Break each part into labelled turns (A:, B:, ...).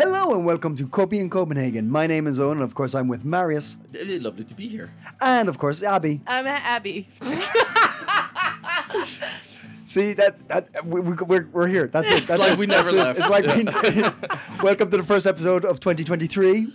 A: Hello and welcome to Copy in Copenhagen. My name is Owen, and of course, I'm with Marius,
B: It is Lovely to be here.
A: and of course, Abby.
C: I'm Abby.
A: See that, that we, we, we're, we're here. That's it. That's
B: like
A: it.
B: we never
A: That's
B: left.
A: It. It's like we, welcome to the first episode of 2023.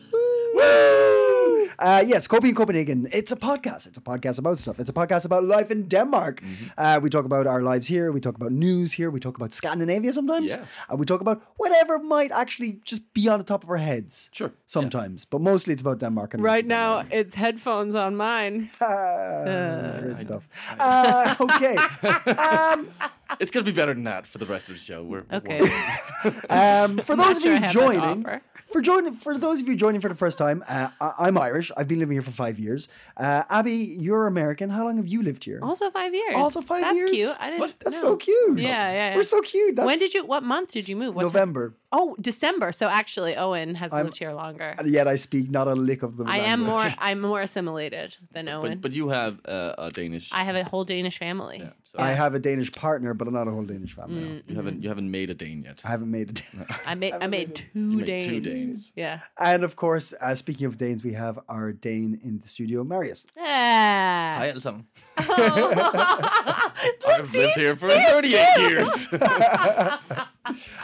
A: Uh, yes, Copy in Copenhagen. It's a podcast. It's a podcast about stuff. It's a podcast about life in Denmark.
B: Mm-hmm.
A: Uh, we talk about our lives here. We talk about news here. We talk about Scandinavia sometimes.
B: Yeah.
A: And we talk about whatever might actually just be on the top of our heads.
B: Sure. Yeah.
A: Sometimes. But mostly it's about Denmark. And
C: Right now, it's headphones on mine.
A: Uh, good stuff. Uh, okay.
B: It's gonna be better than that for the rest of the show. We're we're-
C: Okay.
A: Um, for those
C: sure I
A: of you
C: have that
A: joining,
C: offer.
A: for joining, for those of you joining for the first time, uh, I- I'm Irish. I've been living here for five years. Uh, Abby, you're American. How long have you lived here?
C: Also five years.
A: Also five
C: That's
A: years?
C: cute. I didn't.
B: What?
A: That's
C: know.
A: so cute.
C: Yeah, yeah. yeah.
A: We're so cute. That's
C: when did you? What month did you move? What time-
A: November.
C: Oh, December. So actually, Owen has lived here longer.
A: And Yet I speak not a lick of the.
C: I am
A: language.
C: more. I'm more assimilated than Owen.
B: But, but you have uh, a Danish.
C: I have a whole Danish family.
B: yeah, so
A: I have a Danish partner, but I'm not a whole Danish family.
B: you haven't you haven't made a Dane yet.
A: I haven't made it.
C: Mm. I made. I made
B: You
C: two
B: made
C: Danes.
B: two Danes.
C: Yeah.
A: and of course, uh, speaking of Danes, we have our Dane in the studio, Marius.
C: Ah.
B: Hi, Elson.
C: Oh.
B: I've lived here for 38 years.
A: Um,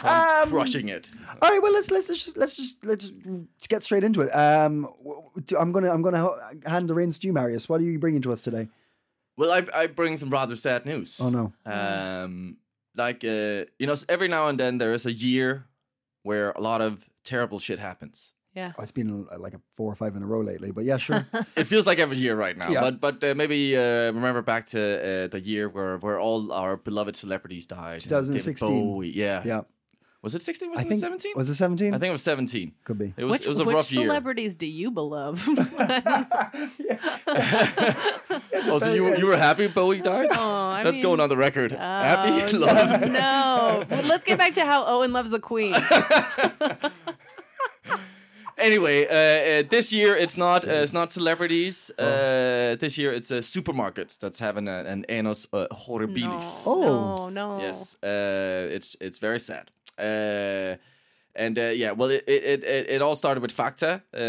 B: I'm
C: Um,
B: crushing it.
A: All right, well let's let's, let's just let's just let's just get straight into it. Um, w- w- I'm gonna I'm gonna h- hand the reins to you, Marius. What are you bringing to us today?
B: Well, I, I bring some rather sad news.
A: Oh no,
B: Um, like uh, you know, every now and then there is a year where a lot of terrible shit happens.
C: yeah.
A: oh, it's been uh, like a four or five in a row lately. But yeah, sure.
B: it feels like every year right now.
A: Yeah.
B: But but uh, maybe uh, remember back to uh, the year where where all our beloved celebrities died. David
A: 2016.
B: Bowie, Yeah.
A: yeah,
B: Was it 16?
A: I
B: Wasn't it
A: think
B: 17?
A: was it 17?
B: I think it was 17.
A: could be.
B: It was
C: which
B: it was a
C: which
B: rough year.
C: celebrities do you love?
B: Oh, so you you were happy Bowie died?
C: I
B: That's going
C: mean-
B: on the record. happy
C: Oh,
B: love.
C: No. Well, let's get back to how Owen loves the Queen.
B: Anyway, uh, uh, this year it's not uh, it's not celebrities.
A: Oh.
B: Uh, this year it's uh, supermarkets that's having a, an anus uh, horribilis.
A: Oh.
C: No, no.
B: Yes, uh, it's it's very sad. Uh, and uh, yeah, well, it it, it it it all started with Fakta, uh,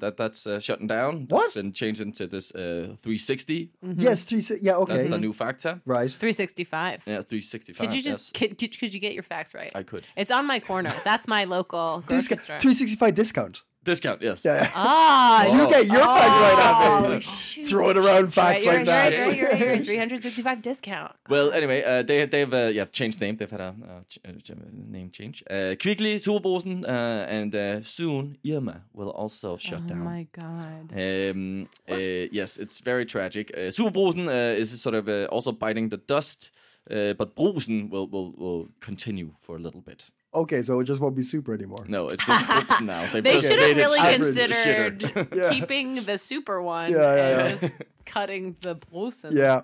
B: that that's uh, shutting down.
A: What?
B: Then changed into this uh, 360.
A: Yes, three. se- Yeah, okay.
B: That's the new Fakta.
A: right.
C: 365.
B: Yeah, 365.
C: Could you just
B: yes.
C: could, could, could you get your facts right?
B: I could.
C: It's on my corner. That's my local grocery
A: Discount.
C: store.
A: 365 discount.
B: discount? Yes.
A: Yeah.
C: Ah,
A: you get your facts right, Abby.
C: oh,
A: Throwing around facts
C: right,
A: like that.
C: Right, right, right, right, right. 365 discount.
B: Well, anyway, uh, they they've uh, yeah changed name. They've had a uh, ch- uh, ch- uh, name change. Uh, quickly, Superbosen, uh, and uh, soon Irma will also shut
C: Oh
B: down.
C: my god.
B: Um, uh, yes, it's very tragic. Uh, Superbrusen uh, is sort of uh, also biting the dust, uh, but Brusen will, will will continue for a little bit.
A: Okay, so it just won't be super anymore.
B: No, it's just Brusen now. They've
C: They
B: just
C: should have
B: made it
C: really
B: super
C: considered
B: shitter.
A: Yeah.
C: keeping the super one
A: Yeah, yeah,
C: and just cutting the Brusen.
A: Yeah.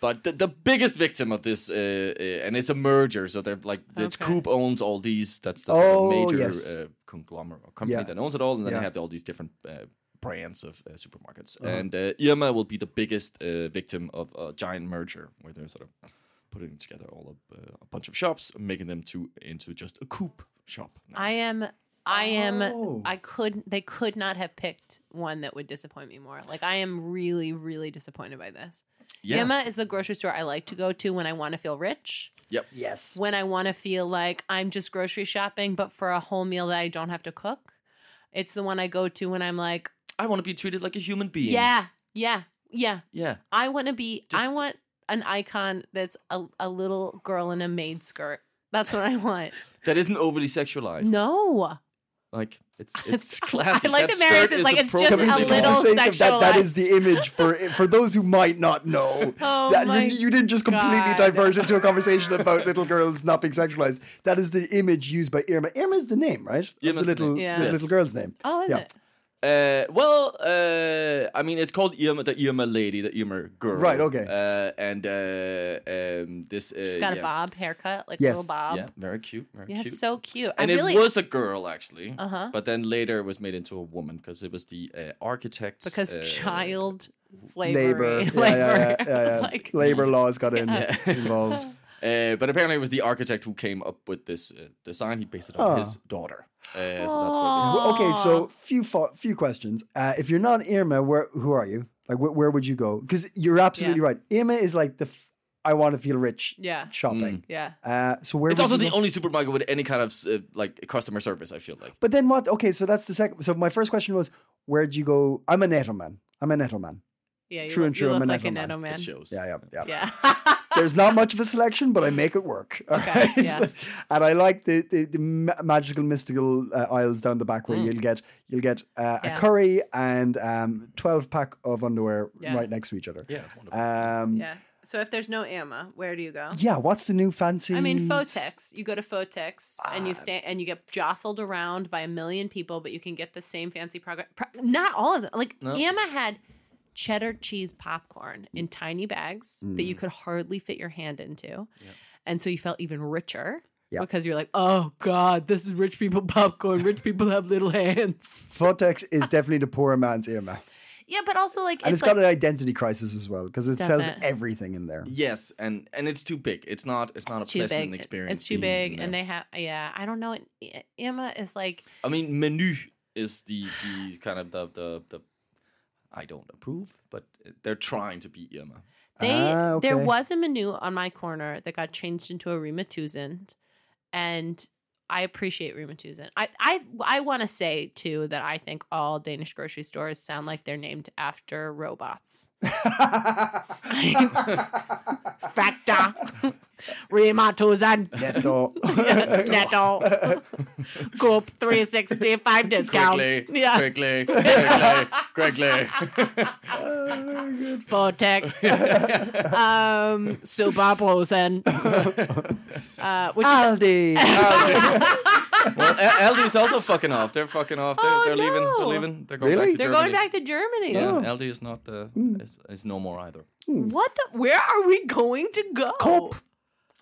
B: but the, the biggest victim of this, uh, uh, and it's a merger, so they're like it's
C: Okay.
B: Coop owns all these. That's the
A: Oh,
B: sort of major
A: yes.
B: uh, conglomerate or company
A: Yeah.
B: that owns it all, and then
A: Yeah. Uh-huh.
B: they have all these different. Uh, Brands of uh, supermarkets, and uh, Irma will be the biggest uh, victim of a giant merger, where they're sort of putting together all of, uh, a bunch of shops, and making them to into just a coop shop. now.
C: I am. I am.
A: Oh.
C: I could. They could not have picked one that would disappoint me more. Like I am really, really disappointed by this.
B: yeah,
C: Yema is the grocery store I like to go to when I want to feel rich,
B: yep,
A: Yes.
C: when I want to feel like I'm just grocery shopping, but for a whole meal that I don't have to cook. It's the one I go to when I'm like,
B: I want to be treated like a human being.
C: yeah, yeah, yeah.
B: yeah.
C: I want to be.
B: Just-
C: I want an icon that's a, a little girl in a maid skirt. That's what I want.
B: That isn't overly sexualized.
C: No.
B: Like it's it's classic.
C: I like that
B: That
C: Marius
B: shirt
C: is like,
B: a
C: "It's just
B: proper
C: a
B: thing."
A: for the
C: little
A: sake of that, that
C: sexualized.
A: is the image for for those who might not know.
C: Oh
A: that,
C: my
A: you, you didn't just completely
C: God.
A: diverge into a conversation about little girls not being sexualized. That is the image used by Irma. Irma is the name, right? Of
B: Irma's
A: the
B: the name.
A: little
C: Yeah.
A: the
B: Yes.
A: little girl's name.
C: Oh, is
A: Yeah.
C: it?
B: Uh, well, uh, I mean, it's called Irma, the Irma lady, the Irma girl.
A: Right, okay.
B: Uh, and uh, um, this. Uh,
C: She's got
B: yeah.
C: a bob haircut, like
A: Yes.
C: little bob.
B: Yeah, very cute. Very
C: Yeah,
B: cute.
C: so cute.
B: and
C: I
B: it
C: really
B: was a girl actually,
C: Uh-huh.
B: but then later it was made into a woman because it was the uh, architect.
C: because
B: uh,
C: child slavery,
A: Labor, yeah,
C: labor.
A: yeah, yeah, yeah,
C: I was
A: yeah.
C: like,
A: labor laws got in
B: Yeah.
A: involved.
B: Uh, but apparently, it was the architect who came up with this uh, design. He based it on
A: Ah.
B: his daughter. Uh, so that's what
A: Well, okay, so few fo- few questions. Uh, if you're not Irma, where who are you? Like, wh- where would you go? Because you're absolutely right. Irma is like the f- I want to feel rich
C: yeah,
B: Mm.
A: shopping.
C: yeah.
A: Uh, so where
B: it's
A: would
B: also
A: you
B: the
A: go?
B: only supermarket with any kind of uh, like customer service. I feel like.
A: But then what? Okay, so that's the second. So my first question was, where'd you go? I'm a netto man. I'm a netto man.
C: Yeah, you
A: True
C: look,
A: and true,
C: You
A: I'm
C: look
A: an
C: like a
A: Edelman.
B: It
C: netto man.
B: shows.
A: Yeah, yeah, yeah.
C: Yeah.
A: There's not much of a selection, but I make it work. all
C: Okay,
A: right?
C: yeah.
A: and I like the the, the ma- magical, mystical uh, aisles down the back where you'll get you'll get uh,
C: Mm. Yeah.
A: a curry and um, twelve pack of underwear
C: Yeah.
A: right next to each other.
B: Yeah, it's wonderful.
A: Um,
C: yeah. So if there's no Emma, where do you go?
A: Yeah, what's the new fancy?
C: I mean, Fotex. You go to Fotex and you stay and you get jostled around by a million people, but you can get the same fancy progress. Pro- not all of them. Like
B: No.
C: Emma had cheddar cheese popcorn in tiny bags that
B: Mm.
C: you could hardly fit your hand into, and so you felt even richer.
A: Yeah.
C: Because you're like, oh God, this is rich people popcorn. Rich people have little hands.
A: Fotex is definitely the poor man's Irma.
C: Yeah, but also like
A: And
C: it's
A: it's
C: like,
A: got an identity crisis as well because it
C: Does
A: sells
C: it?
A: everything in there.
B: Yes, and and it's too big. It's not. It's not
C: it's
B: a
C: too
B: pleasant
C: big.
B: experience.
C: It's too big,
B: being in
C: and
B: there.
C: they have yeah. I don't know. E- Emma is like
B: I mean, menu is the the kind of the the. the I don't approve, but they're trying to beat Irma.
C: They
A: Ah,
C: there
A: okay.
C: was a menu on my corner that got changed into a Rima Tuzand, and I appreciate Rima Tuzand. I I I want to say too that I think all Danish grocery stores sound like they're named after robots. Factor Rima Tuzand
A: Netto.
C: Netto Coop three sixty five discount.
B: Quickly,
C: yeah,
B: quickly, quickly, quickly.
C: Vortex. um, Super Prosen. uh, which is
A: Aldi.
B: well, A- Aldi's also fucking off. They're fucking off. They're,
C: Oh,
B: they're leaving. They're
C: no.
B: leaving. They're going
A: Really? Oh. Hmm.
B: back
C: They're going
B: to Germany.
C: back to Germany.
B: Yeah, Aldi is not the. Is, is no more either.
C: What the? Where are we going to go?
A: Coop.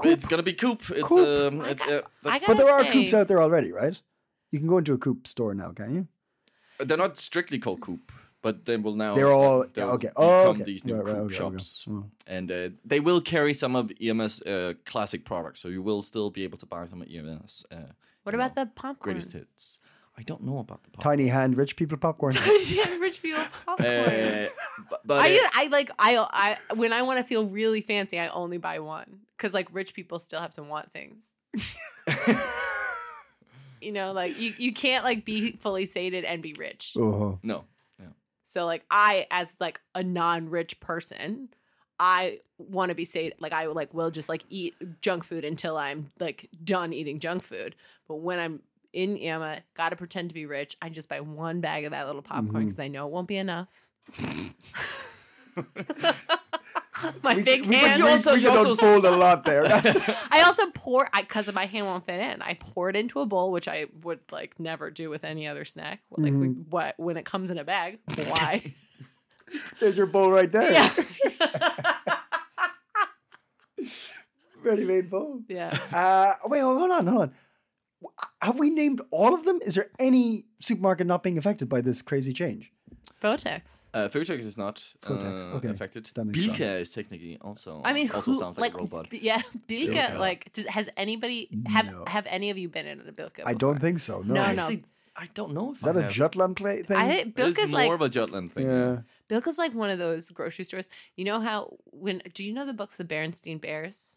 B: It's gonna be coop. It's
A: Coop.
B: um. It's
C: got-
B: uh, that's,
A: But there are
C: Say-
A: coops out there already, right? You can go into a coop store now, can you?
B: they're not strictly called coop, but they will now.
A: They're all
B: Oh, they'll
A: okay.
B: become
A: Oh, okay.
B: these new
A: Right, right,
B: coop
A: okay, okay.
B: shops,
A: Mm.
B: and uh, they will carry some of EMS uh, classic products. So you will still be able to buy some of EMS. Uh,
C: What
B: you
C: about
B: know,
C: the popcorn?
B: greatest hits? I don't know about the pop.
A: Tiny hand, rich people popcorn. Oh,
C: yeah, rich people popcorn.
B: Uh, but, but
C: I,
B: uh,
C: u- I like I I when I want to feel really fancy, I only buy one because like rich people still have to want things.
B: uh,
C: you know, like you, you can't like be fully sated and be rich.
A: Oh,
B: no.
C: So like I as like a non-rich person, I want to be sated. Like I like will just like eat junk food until I'm like done eating junk food. But when I'm in Yama, gotta pretend to be rich. I just buy one bag of that little popcorn
B: Mm-hmm.
C: because I know it won't be enough. my
A: We-
C: big
A: we- but
C: hand.
B: you also-
A: we
B: you
A: could
B: also
A: unfold a lot there. That's-
C: I also pour I because my hand won't fit in. I pour it into a bowl, which I would like never do with any other snack. Like we,
B: Mm-hmm.
C: what when it comes in a bag? Why?
A: There's your bowl right there.
C: yeah.
A: Ready-made bowl.
C: Yeah.
A: Uh, wait, wait, hold on, hold on. Have we named all of them? Is there any supermarket not being affected by this crazy change?
C: Botex.
B: Uh, Fotex is not uh,
A: Fotex, okay.
B: affected.
A: That makes
B: Bilka
A: sense.
B: is technically also.
C: I mean,
B: Oh, also
C: who,
B: sounds like, a robot.
C: b- Yeah, Bilka.
A: Bilka.
C: Like, does, has anybody have
A: No.
C: have any of you been in a Bilka? before?
A: I don't think so.
C: No,
A: No.
C: no.
B: Actually, I don't know if
A: Is that
B: I
A: a
B: have.
A: Jutland play thing?
C: I think
B: It is
C: Bilka's
B: more
C: like
B: of a Jutland thing.
A: yeah.
C: Bilka's like one of those grocery stores. You know how when do you know the books The Berenstain Bears?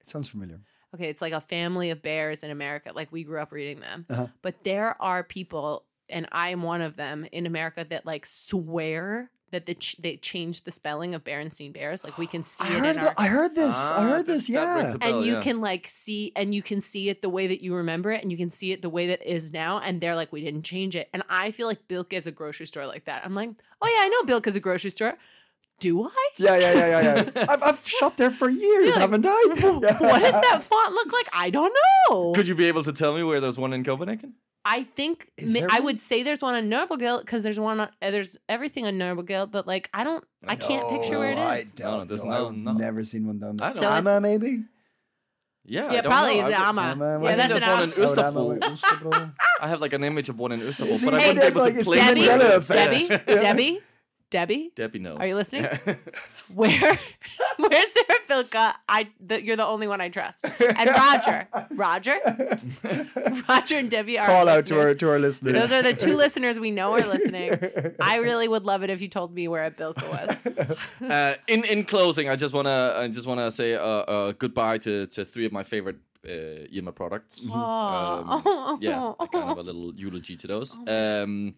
A: It sounds familiar.
C: Okay, it's like a family of bears in America. Like we grew up reading them.
A: Uh-huh.
C: But there are people, and I'm one of them in America that like swear that they, ch- they changed the spelling of Berenstein Bears. Like we can see
A: I
C: it
A: heard,
C: in our
A: th- I heard this. I
B: Ah,
A: heard
B: that-
A: this.
B: that
A: Oh, Yeah.
B: rings a bell,
C: and you
B: yeah.
C: can like see and you can see it the way that you remember it and you can see it the way that is now and they're like we didn't change it and i feel like bilk is a grocery store like that i'm like oh yeah i know bilk is a grocery store do i
A: Yeah, yeah, yeah, yeah, yeah. I've, I've shopped there for years,
C: You're like,
A: haven't I?
C: what does that font look like i don't know
B: Could you be able to tell me where there's one in Copenhagen?
C: i think
A: Is
C: ma-
A: there
C: i
A: one?
C: would say there's one on noble because there's one on uh, there's everything on noble but like i don't i can't picture where
A: No,
C: it is
A: I don't
B: No, there's
A: know.
B: no-
A: I've
B: no.
A: never seen one done.
B: I don't So
C: know.
A: Ama, maybe?
B: Yeah, I
C: yeah
B: don't
C: probably
B: know.
C: is
B: I would-
C: ama
A: Ama,
C: yeah
A: what-
C: that's
B: There's
C: an ama
B: one in
A: Oh,
B: Østerbro.
A: Ama, wait, Østerbro.
B: I have like an image of one in Istanbul,
A: See,
B: but I
A: hey,
B: wouldn't be
A: there's
B: able
A: like-
B: to
A: it's
B: play it.
C: debbie
A: Cinderella
B: with-
A: effect.
C: debbie
B: Yeah.
C: debbie debbie
B: Debbie knows.
C: Are you listening? where where's there a Vilka? I that you're the only one I trust. And Roger, Roger, Roger and Debbie are
A: Call
C: our
A: out to our,
C: listeners.
A: to our listeners.
C: Those are the two listeners we know are listening. I really would love it if you told me where a Bilka was.
B: uh, in in closing, I just wanna I just wanna say uh, uh, goodbye to to three of my favorite uh, Yema products. Um,
C: Aw.
B: yeah, like kind of a little eulogy to those. um,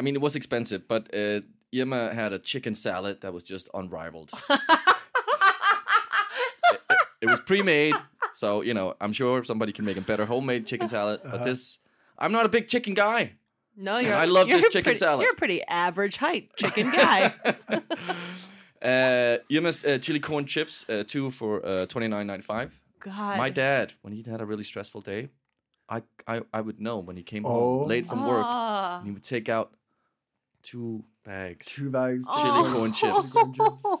B: I mean, it was expensive, but uh, Yema had a chicken salad that was just unrivaled. It- it- it was pre-made, so you know I'm sure somebody can make a better homemade chicken salad. But this, I'm not a big chicken guy.
C: No, you're.
B: I love
C: you're
B: this chicken
C: pretty-
B: salad.
C: You're a pretty average height chicken guy.
B: Uh, Yema's uh, chili corn chips, uh, two for uh, twenty nine ninety five.
C: God,
B: My dad, when he'd had a really stressful day, I I, I would know when he came
A: Oh.
B: home late from work,
C: Ah.
B: and he would take out two bags
A: two bags.
B: chili
C: Oh.
B: corn chips,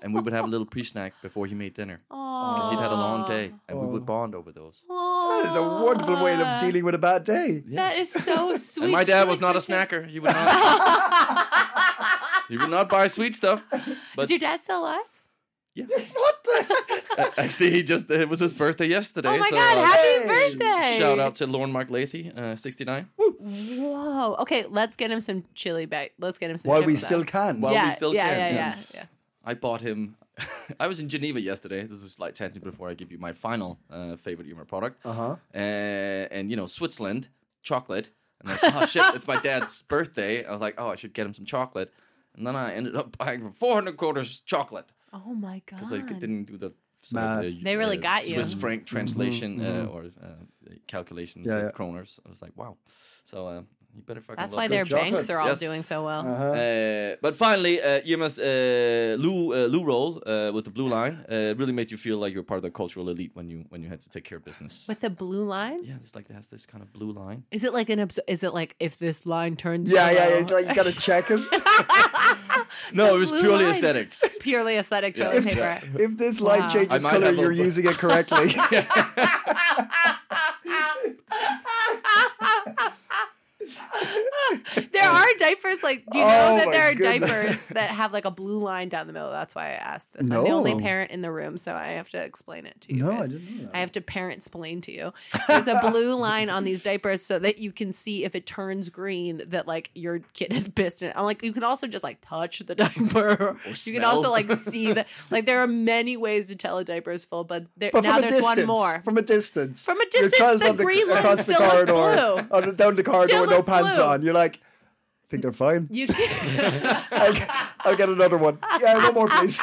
B: and we would have a little pre snack before he made dinner because he'd had a long
C: Ah.
B: day, and we
A: Oh.
B: would bond over those.
A: That is a wonderful way of dealing with a bad day.
B: Yeah.
C: That is so sweet.
B: and my dad was
C: chili corn
B: not a
C: chips.
B: snacker. He would not. he would not buy sweet stuff. But
C: Is your dad still alive?
A: What the?
B: actually, he just it was his birthday yesterday.
C: Oh my
B: so,
C: god,
B: uh,
C: happy
A: Hey!
C: birthday!
B: Shout out to Lauren Mark Lathy, uh, 69.
C: Whoa. Okay, let's get him some chili back. Let's get him some
A: While we
C: chips,
A: still
C: though.
A: can.
B: While
C: yeah,
B: we still
C: yeah,
B: can.
C: Yeah,
B: yes.
C: yeah, yeah.
B: I bought him. I was in Geneva yesterday. This is a slight tangent before I give you my final uh, favorite humor product.
A: Uh-huh.
B: Uh, and you know, Switzerland chocolate. And I thought, oh shit, it's my dad's birthday. I was like, oh, I should get him some chocolate. And then I ended up buying 400 quarters chocolate
C: Oh my god.
B: because I didn't do the. sort
A: Math. Mm-hmm.
B: of the, uh,
C: They really got you.
B: Swiss franc translation uh, or uh, calculation
A: Yeah,
B: to
A: yeah.
B: kroners. I was like, wow. So uh, you better fucking.
C: That's
B: love
C: why
B: this
C: their banks
A: chocolate.
C: are all
B: Yes.
C: doing so well.
A: Uh-huh.
B: uh, but finally, uh, Yema's uh, Lou uh, Lou roll uh, with the blue line uh, really made you feel like you were part of the cultural elite when you when you had to take care of business.
C: With a blue line?
B: yeah, it's like it has this kind of blue line.
C: Is it like an obs- is it like if this line turns
A: Yeah, yeah, yeah.
C: yellow?
A: It's like you gotta check it.
B: No, it was
C: blue
B: purely
C: line.
B: aesthetics.
C: Purely aesthetic
B: Yeah.
C: toilet
B: If-
C: paper.
A: If this
C: Wow.
A: light
B: I
A: changes
B: might
A: color,
B: have a-
A: you're using it correctly.
C: there are diapers like do you know
A: Oh
C: that
A: my
C: there are
A: goodness.
C: diapers that have like a blue line down the middle? That's why I asked this. I'm the only
A: No.
C: parent in the room, so I have to explain it to you.
A: No, I
C: guys.
A: didn't know that.
C: I have to parent explain to you. There's a blue line on these diapers so that you can see if it turns green that like your kid has pissed in it. I'm like, you can also just like touch the diaper. you can
B: smell.
C: also like see that like there are many ways to tell a diaper is full, but, there,
A: But
C: now
A: from a
C: there's
A: distance,
C: one more.
A: From a distance.
C: From a
A: Your
C: distance,
A: child's
C: the
A: on
C: green line
A: across
C: still looks
A: corridor,
C: blue.
A: on- down the corridor,
C: Still
A: no
C: looks
A: pants
C: blue.
A: on. You're like, I think they're fine.
C: you can
A: I'll, g- I'll get another one. Yeah, no more, please.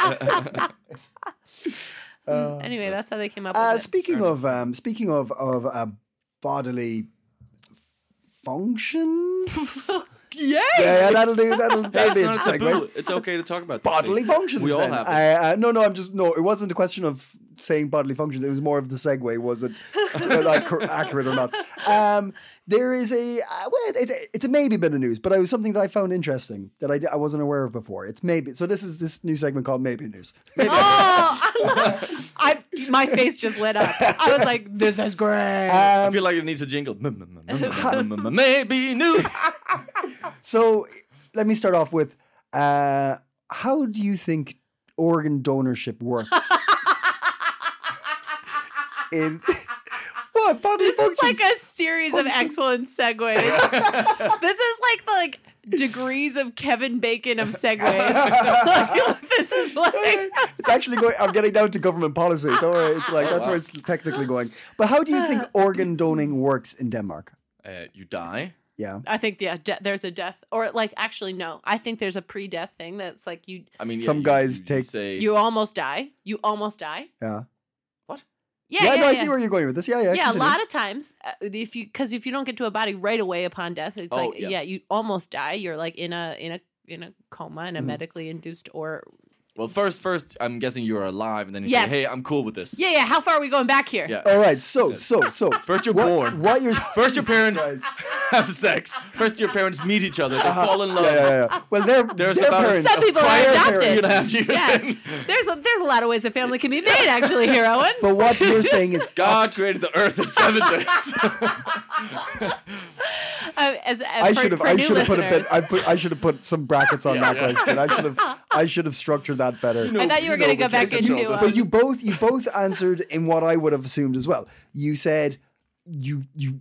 A: Oh,
C: anyway, that's how they came up
A: Uh,
C: with it.
A: speaking of um, speaking of of uh, bodily functions,
B: Yay!
A: yeah, yeah, that'll do. That'll, that'll
B: That's
A: be a
B: not a
A: segue.
B: taboo. It's okay to talk about these
A: bodily
B: things.
A: functions.
B: We all
A: then.
B: have. it.
A: I, uh, no, no. I'm just no. It wasn't a question of saying bodily functions. It was more of the segue. Was it uh, like cor- accurate or not? Um, there is a uh, well, it, it, it's a maybe bit of news, but it was something that I found interesting that I, I wasn't aware of before. It's maybe. So this is this new segment called Maybe News.
C: Oh, I, love, I my face just lit up. I was like, "This is great."
A: Um,
B: I feel like it needs a jingle. Maybe news.
A: So let me start off with uh, how do you think organ donorship works? In what bodily
C: This is
A: functions?
C: like a series of excellent segues. this is like the like degrees of Kevin Bacon of segues. this is like
A: it's actually going. I'm getting down to government policy. Don't worry. It's
C: Oh,
A: like that's where it's technically going. But how do you think organ doning works in Denmark?
B: Uh, you die.
A: Yeah.
C: I think yeah, de- there's a death or like actually no, I think there's a pre-death thing that's like you
B: I mean, yeah,
A: Some
B: you-
A: guys
B: you- you
A: take-
B: say
C: you almost die, you almost die.
A: Yeah.
C: Yeah,
A: no,
C: yeah,
A: I
C: yeah.
A: see where you're going with this. Yeah, yeah.
C: yeah,
A: continue.
C: a lot of times uh, if you because if you don't get to a body right away upon death, it's
B: Oh,
C: like
B: yeah.
C: yeah. you almost die. You're like in a in a in a coma in a
A: Mhm.
C: medically induced or
B: Well, first, first, I'm guessing you're alive, and then you
C: Yes.
B: say, "Hey, I'm cool with this."
C: yeah yeah. How far are we going back here?
B: Yeah.
A: All right. So, so, so.
B: First, you're
A: what,
B: born.
A: What you're,
B: First, your parents
A: Christ. Uh-huh.
B: have sex. First, your parents meet each other. They fall in love.
A: Yeah, yeah, yeah. Well, their,
B: There's
A: their
B: about a-
A: parents.
C: Some people are
A: their
C: adopted.
B: Three and a
A: parents-
B: half years
C: Yeah.
B: in,
C: There's a, there's a lot of ways a family can be made actually here, Owen.
A: But what you're saying is
B: God created the earth in seven days.
C: Uh, as, uh,
A: I
C: for-
A: should have.
C: for
A: I
C: new
A: should have put a bit.
C: listeners.
A: I put. I should have put some brackets on
B: Yeah,
A: that
B: yeah.
A: question. I should have. I should have structured that better.
C: I thought you were going to go back
B: Jacob's
C: into.
B: oldest.
C: um,
A: but you both. You both answered in what I would have assumed as well. You said, you you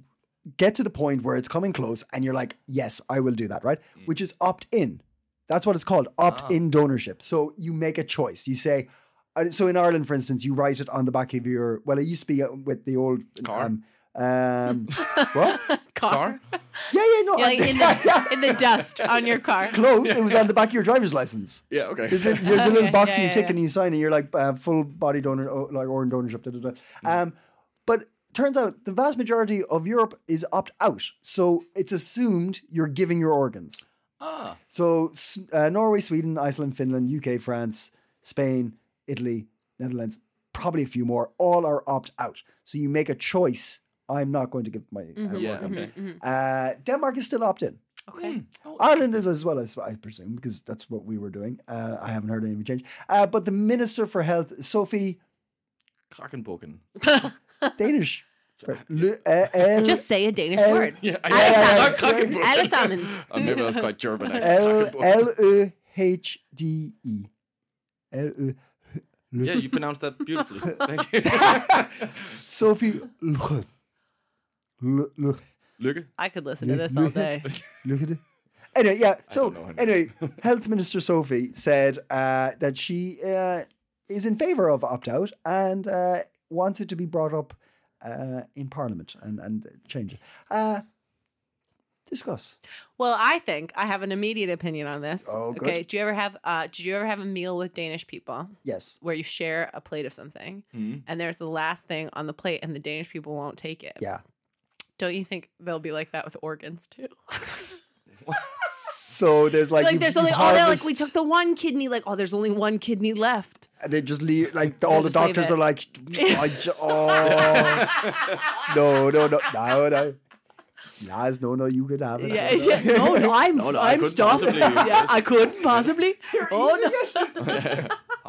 A: get to the point where it's coming close, and you're like, yes, I will do that, right? Which is opt in. That's what it's called, opt-in donorship. So you make a choice. You say. uh, So in Ireland, for instance, you write it on the back of your. Well, it used to be uh, with the old
B: Car?
A: Um, um, what?
B: Car?
A: Yeah, yeah, no.
C: Yeah, like in the in the dust on your car.
A: close. It was on the back of your driver's license.
B: Yeah. Okay.
A: There's, a- there's a little
C: Okay,
A: box
C: yeah,
A: and you
C: yeah,
A: tick
C: yeah.
A: and you sign and you're like uh, full body donor, oh, like organ donorship. Da, da, da.
C: Mm-hmm.
A: Um, but turns out the vast majority of Europe is opt out, so it's assumed you're giving your organs.
B: Ah.
A: So S- uh, Norway, Sweden, Iceland, Finland, UK, France, Spain, Italy, Netherlands, probably a few more. All are opt out. So you make a choice. I'm not going to give my uh,
C: Mhm,
B: Yeah.
A: organs.
B: Okay.
A: Uh, Denmark is still opt in.
C: Okay.
B: Hmm. Oh,
A: Ireland is as well, as I presume, because that's what we were doing. Uh, I haven't heard any change. Uh, but the Minister for Health, Sophie
B: Krakenboken.
A: Danish, Lu- uh, El,
C: Just say a Danish
A: Uh,
C: word.
B: Yeah. I
A: Alexander.
B: Krakenboken.
C: Alexander.
B: Oh, maybe I was quite German.
A: L,
B: Actually. Krakenboken.
A: L E H D E. L E.
B: Yeah, you pronounced that beautifully. Thank you.
A: Sophie Luche. Lu- Lu-
B: Lykke.
C: I could listen to this all day.
A: Luche. Anyway, yeah. So,
B: don't know her name.
A: anyway, Health Minister Sophie said uh, that she uh, is in favour of opt out and uh, wants it to be brought up uh, in Parliament and, and change it. Uh, discuss.
C: Well, I think I have an immediate opinion on this.
A: Oh, good.
C: Okay. Do you ever have uh did you ever have a meal with Danish people
A: Yes.
C: where you share a plate of something
B: Mhm.
C: and there's the last thing on the plate and the Danish people won't take it?
A: Yeah.
C: Don't you think they'll be like that with organs too?
A: So there's like,
C: Like,
A: you've-
C: there's only
A: you've
C: oh they're like
A: harvest-
C: we took the one kidney like oh there's only one kidney left.
A: and they just leave like all the
C: just leave
A: doctors
C: it.
A: are like I j- oh no no no no no Lars no no you can have it
C: Yeah, yeah. No, no, I'm,
B: No, no, I
C: I'm
B: couldn't
C: stuffed.
B: possibly.
C: Yeah, I couldn't possibly. Oh no,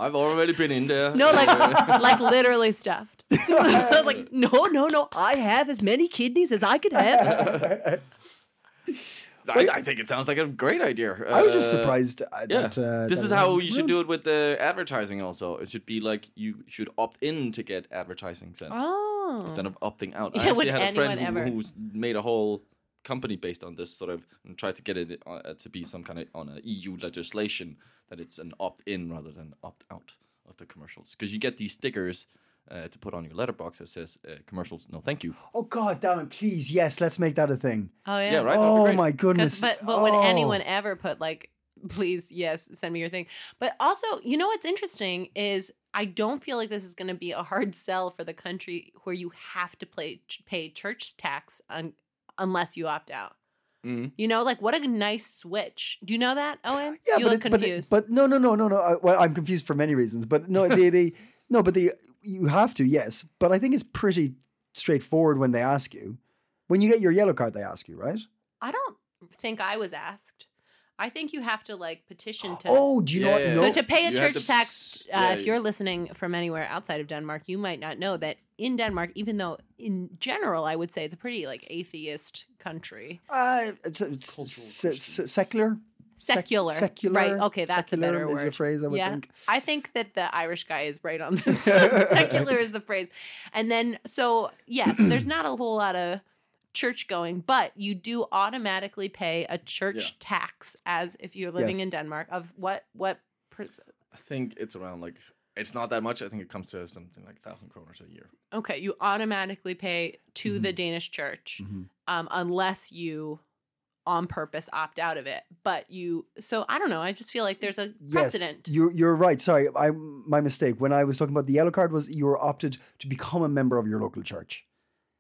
B: I've already been in there.
C: no, like, like literally stuffed. like, no, no, no. I have as many kidneys as I could have.
B: I, I think it sounds like a great idea.
A: I was just
B: Uh,
A: surprised uh,
B: Yeah,
A: that uh,
B: this
A: that
B: is
A: I
B: how
A: haven't
B: you
A: learned.
B: should do it with the advertising. Also, it should be like you should opt in to get advertising sent
C: Oh,
B: instead of opting out. I
C: Yeah,
B: actually
C: would
B: had a friend
C: anyone
B: who,
C: ever?
B: who's made a whole company based on this sort of and tried to get it uh, to be some kind of on a EU legislation that it's an opt in rather than opt out of the commercials because you get these stickers. Uh, to put on your letterbox that says uh, commercials, no thank you.
A: Oh God, damn it! Please, yes, let's make that a thing.
C: oh yeah.
B: Yeah, right. that'd be
A: oh
B: great.
A: my
C: 'Cause-
A: goodness!
C: But but would
A: Oh.
C: anyone ever put like, please, yes, send me your thing? But also, you know what's interesting is I don't feel like this is going to be a hard sell for the country where you have to play, pay church tax un, unless you opt out.
B: Mhm.
C: You know, like what a nice switch. Do you know that, Owen?
A: Yeah,
C: you
A: but
C: look
A: it- but it-
C: confused.
A: But, no, no, no, no, no. I, well, I'm confused for many reasons. But no, they, they no, but they you have to yes. But I think it's pretty straightforward when they ask you. When you get your yellow card, they ask you, right?
C: I don't think I was asked. I think you have to like petition to.
A: Oh, do you know?
B: Yeah,
A: what?
B: yeah,
A: No,
B: yeah.
C: So to pay a
B: You have
C: church
B: to
C: tax,
B: s-
C: uh,
B: yeah,
C: if you're listening from anywhere outside of Denmark, you might not know that in Denmark, even though in general I would say it's a pretty like atheist country,
A: uh, it's- it's- se- se- secular, Sec-
C: secular,
A: secular.
C: right? Okay, that's a better
A: secularum
C: word.
A: Is a phrase I would
C: yeah,
A: think.
C: I think that the Irish guy is right on this. secular is the phrase, and then so yes, there's not a whole lot of church going, but you do automatically pay a church tax as if you're living
A: Yes.
C: in Denmark of what what. pers-
B: I think it's around like it's not that much. I think it comes to something like thousand kroners a year.
C: Okay,
B: Mm-hmm.
C: you automatically pay to the Danish church
A: Mhm.
C: um, unless you on purpose opt out of it. But you, so I don't know. I just feel like there's a precedent.
A: Yes, you're, you're right. Sorry, I my mistake. When I was talking about the yellow card, was you were opted to become a member of your local church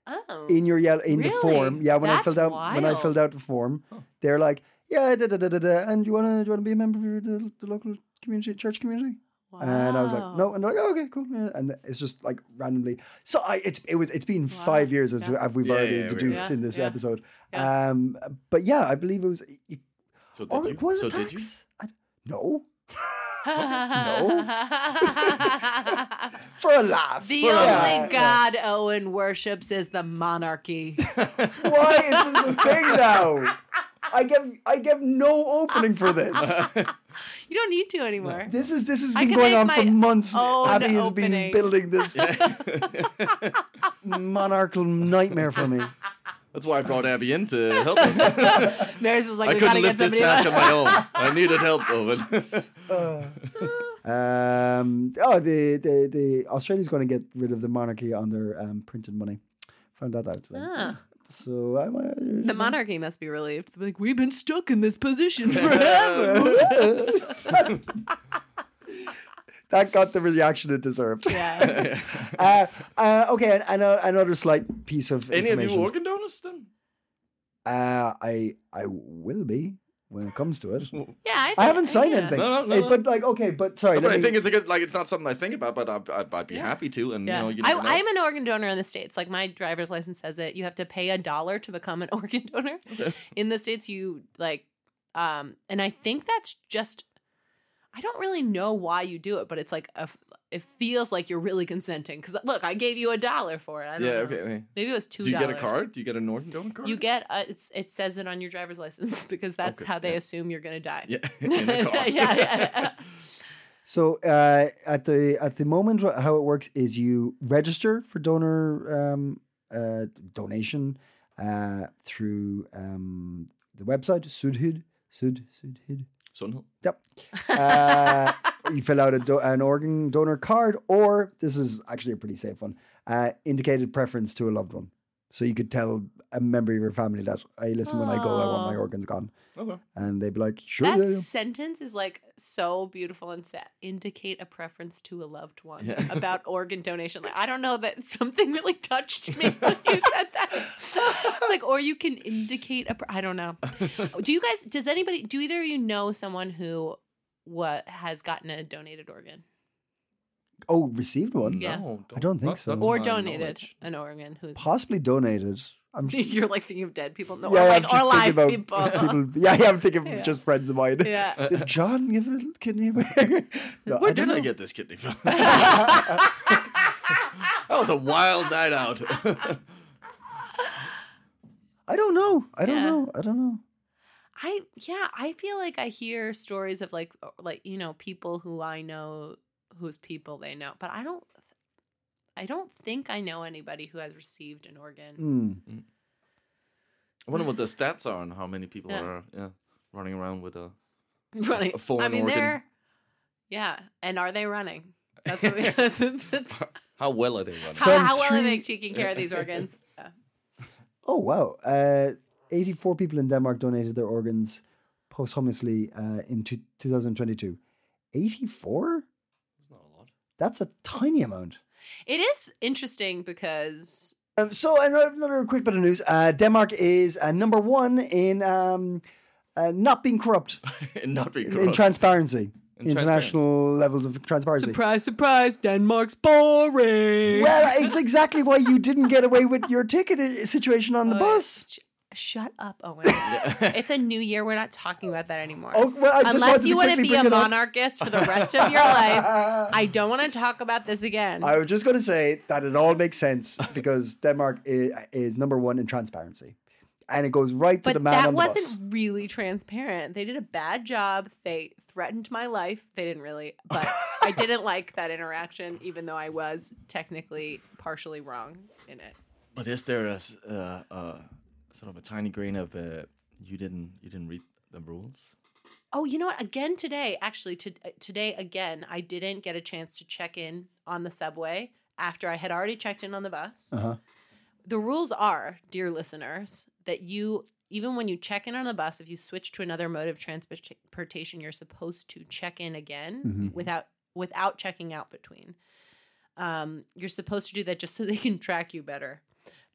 C: oh,
A: in your yellow in the form.
C: Really?
A: Yeah, when I
C: That's
A: filled out when I
C: wild.
A: filled out the form, they're like, yeah, da, da, da, da, da, and you wanna do you wanna be a member of your, the, the local community church community? And I was like,
C: Wow.
A: no, and they're like, oh, okay, cool. yeah. And it's just like randomly. So I, it's it was it's been five years as
C: Yeah.
A: as we've
B: Yeah,
A: already
B: yeah, we-
A: deduced
C: Yeah,
A: in this
C: yeah.
A: episode.
C: Yeah.
A: Um, but yeah, I believe it was. It,
B: So did
C: Oh,
A: or
B: you?
A: was
B: so
A: it
B: did you?
A: tax? I, no,
C: no.
A: for a laugh.
C: the
A: for a
C: only
A: laugh.
C: god Owen worships is the monarchy.
A: Why is this a thing now? I give I give no opening for this.
C: you don't need to anymore.
A: This is this has
C: I
A: been
C: can
A: going
C: make
A: on for
C: my
A: months.
C: own
A: Abby has been
C: opening.
A: building this monarchical nightmare for me.
B: That's why I brought Abby in to help us. I
C: Maris was like, we gotta
B: couldn't
C: get
B: lift this
C: somebody.
B: task on
C: else.
B: my own. I needed help, Owen.
A: Um, oh, the, the, the Australia's going to get rid of the monarchy on their um, printed money. Found that out. today.
C: Ah.
A: So uh, I might.
C: The monarchy must be relieved. They're like, we've been stuck in this position forever.
A: that got the reaction it deserved.
C: yeah.
A: Uh, uh, okay, and, and, uh, another slight piece of
B: Any of
A: information.
B: you organ donors then?
A: Uh, I I will be when it comes to it.
C: Yeah. I,
A: I
C: think- uh,
A: haven't signed
C: yeah.
A: anything.
B: No, no, no,
A: Eh,
B: no.
A: But like, okay, but sorry.
B: but
A: let
B: I
A: me-
B: think it's a good, like it's not something I think about, but I'd, I'd, I'd be happy to. And
C: Yeah.
B: you know, you
C: I,
B: never know.
C: I'm an organ donor in the States. Like my driver's license says it. You have to pay a dollar to become an organ donor. In the States, you like, um, and I think that's just, I don't really know why you do it, but it's like, a, it feels like you're really consenting. Cause look, I gave you a dollar for it. I don't
B: yeah.
C: know.
B: Okay. okay.
C: Maybe it was $2.
B: Do you get a card? Do you get an organ donor card?
C: You get a, it's it says it on your driver's license because that's
B: Okay,
C: how they
B: yeah.
C: assume you're gonna die.
B: Yeah. in a card.
C: Yeah, yeah,
A: so. Uh, at the at the moment, wh- how it works is you register for donor um, uh, donation uh, through um, the website Sudhid Sud Sudhid.
B: So no.
A: Yep. Uh, you fill out a do- an organ donor card, or this is actually a pretty safe one. Uh, indicated preference to a loved one, so you could tell a member of your family that, "Hey, listen, when I go, I want my
C: Aw.
A: organs gone,"
B: Okay.
A: and they'd be like, "Sure."
C: That
A: yeah, yeah."
C: sentence is like so beautiful and set. Indicate a preference to a loved one
B: Yeah.
C: about organ donation. Like I don't know that something really touched me when you said that. It's like, or you can indicate a. Pre- I don't know. Do you guys? Does anybody? Do either of you know someone who what has gotten a donated organ
A: Oh, received one.
C: Yeah.
B: No,
A: I don't think
B: that-
A: so.
B: that's
A: Or
C: or
B: my
C: donated
B: knowledge.
C: an organ? Who's
A: Possibly donated. I'm
C: you're like thinking of dead people, no,
A: Yeah,
C: or
A: I'm
C: like
A: just
C: or live
A: thinking
C: people.
A: about people- Yeah, yeah, I'm thinking of
C: Yeah.
A: just friends of mine.
C: yeah.
A: Did John give a kidney away? No,
B: Uh, Where
A: I don't
B: did I
A: know.
B: get this kidney from? that was a wild night out.
A: I don't know. I don't
C: Yeah.
A: know. I don't know.
C: I yeah, I feel like I hear stories of like uh, like you know people who I know whose people they know, but I don't I don't think I know anybody who has received an organ.
A: Hmm.
B: I wonder what the stats are and how many people
C: Yeah.
B: are yeah, running around with a.
C: running.
B: Mm, a foreign
C: I mean,
B: organ.
C: they're yeah, and are they running? That's what we. that's,
B: How well are they running?
A: So-
C: how, how well are
A: three-
C: they taking care of these organs? Yeah.
A: Oh wow! Uh, Eighty-four people in Denmark donated their organs posthumously uh, in two- 2022. Eighty-four?
B: It's not a lot.
A: That's a tiny amount.
C: It is interesting because
A: Um, so another, another quick bit of news: uh, Denmark is uh, number one in um, uh, not being corrupt
B: and not being
A: in,
B: corrupt.
A: in transparency,
B: In
A: international levels of transparency.
C: surprise, surprise, Denmark's boring.
A: Well, it's exactly why you didn't get away with your ticket i- situation on the
C: Oh, yeah.
A: bus.
C: Sh- shut up, Owen. it's a new year. We're not talking about that anymore.
A: Oh, well, I just wanted
C: Unless you
A: to
C: want to
A: quickly
C: be a
A: bring it up.
C: monarchist for the rest of your
A: Uh,
C: life, I don't want to talk about this again.
A: I was just going to say that it all makes sense because Denmark is, is number one in transparency, and it goes right to the
C: but
A: man
C: that
A: on the
C: wasn't
A: bus.
C: really transparent. They did a bad job. They threatened my life. They didn't really, but I didn't like that interaction, even though I was technically partially wrong in it.
B: But is there a s- uh, uh, sort of a tiny grain of uh, you didn't you didn't read the rules?
C: Oh, you know what? Again today, actually, to, uh, today again, I didn't get a chance to check in on the subway after I had already checked in on the bus.
A: Uh-huh.
C: The rules are, dear listeners, that you even when you check in on the bus, if you switch to another mode of transportation, you're supposed to check in again
A: Mhm.
C: without without checking out between. Um, you're supposed to do that just so they can track you better.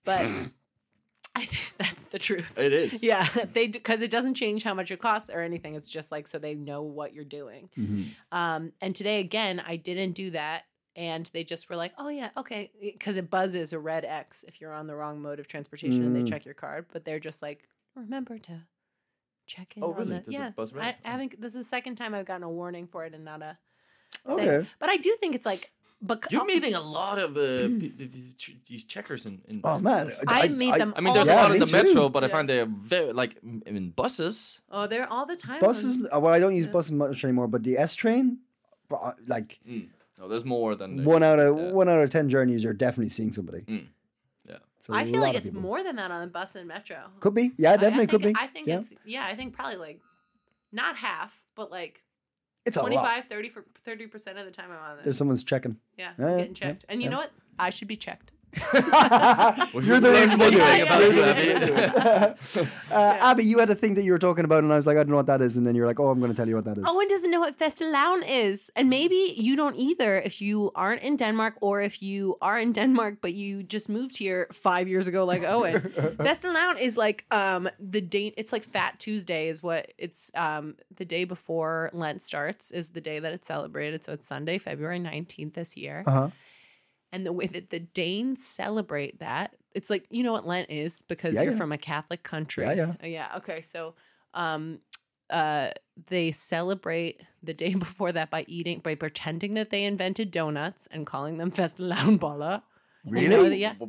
C: But I think that's the truth.
B: It is.
C: Yeah, they because it doesn't change how much it costs or anything. It's just like so they know what you're doing.
B: Mm-hmm.
C: Um, and today again, I didn't do that, and they just were like, "Oh yeah, okay," because it buzzes a red X if you're on the wrong mode of transportation, and they
A: Mm.
C: check your card. But they're just like, "Remember to check in."
B: Oh,
C: on
B: really?
C: the-"
B: Does it
C: yeah,
B: buzz
C: I,
B: red? Oh.
C: I haven't. This is the second time I've gotten a warning for it and not a. Thing.
A: Okay.
C: But I do think it's like. Because
B: You're meeting a lot of uh, p- p- these ch- these checkers in. in
A: Oh man,
C: I meet them
B: I mean,
C: all
B: there's
C: the
B: a lot
A: me
C: time.
B: in the
A: too.
B: metro, but I
C: Yeah.
B: find they're very like m- I mean buses.
C: Oh, they're all the time. on-
A: Buses. uh, Well, I don't use
C: Yeah.
A: buses much anymore, but the S train, bro, uh, like
C: Mm.
B: No, there's more than
A: one out of
B: yeah.
A: one out of ten journeys, you're definitely seeing somebody.
B: Mm. Yeah.
A: It's a
C: I feel
A: lot
C: like
A: of
C: it's
A: people.
C: more than that on the bus and metro.
A: Could be. Yeah,
C: I- I
A: definitely could be.
C: think- I think
A: yeah.
C: it's yeah, I think probably like not half, but like
A: it's a lot.
C: 25, 30 for 30 percent of the time I'm on
A: There's
C: this.
A: someone's checking.
C: Yeah,
A: yeah,
C: I'm
A: yeah,
C: getting
A: yeah,
C: checked. And you
A: yeah.
C: know what? I should be checked.
A: You're the reason they do
C: Yeah,
A: it.
C: yeah,
A: You're the
C: yeah,
A: reason they do
C: yeah.
A: it. Uh, Abby, you had a thing that you were talking about, and I was like, I don't know what that is, and then you're like, Oh, I'm going to tell you what that is.
C: Owen doesn't know what Festilaun is,
A: Mm-hmm.
C: and maybe you don't either if you aren't in Denmark or if you are in Denmark but you just moved here five years ago, like Owen. Festilaun is like um the date. It's like Fat Tuesday is what it's um the day before Lent starts is the day that it's celebrated. So it's Sunday, February nineteenth this year.
A: Uh huh.
C: and the way that the Danes celebrate that, it's like you know what Lent is because
A: Yeah,
C: you're
A: yeah.
C: from a Catholic country.
A: Yeah, yeah.
C: Uh, yeah. Okay, so um, uh, they celebrate the day before that by eating by pretending that they invented donuts and calling them Festlaunboller. You know that- yeah. Whoa,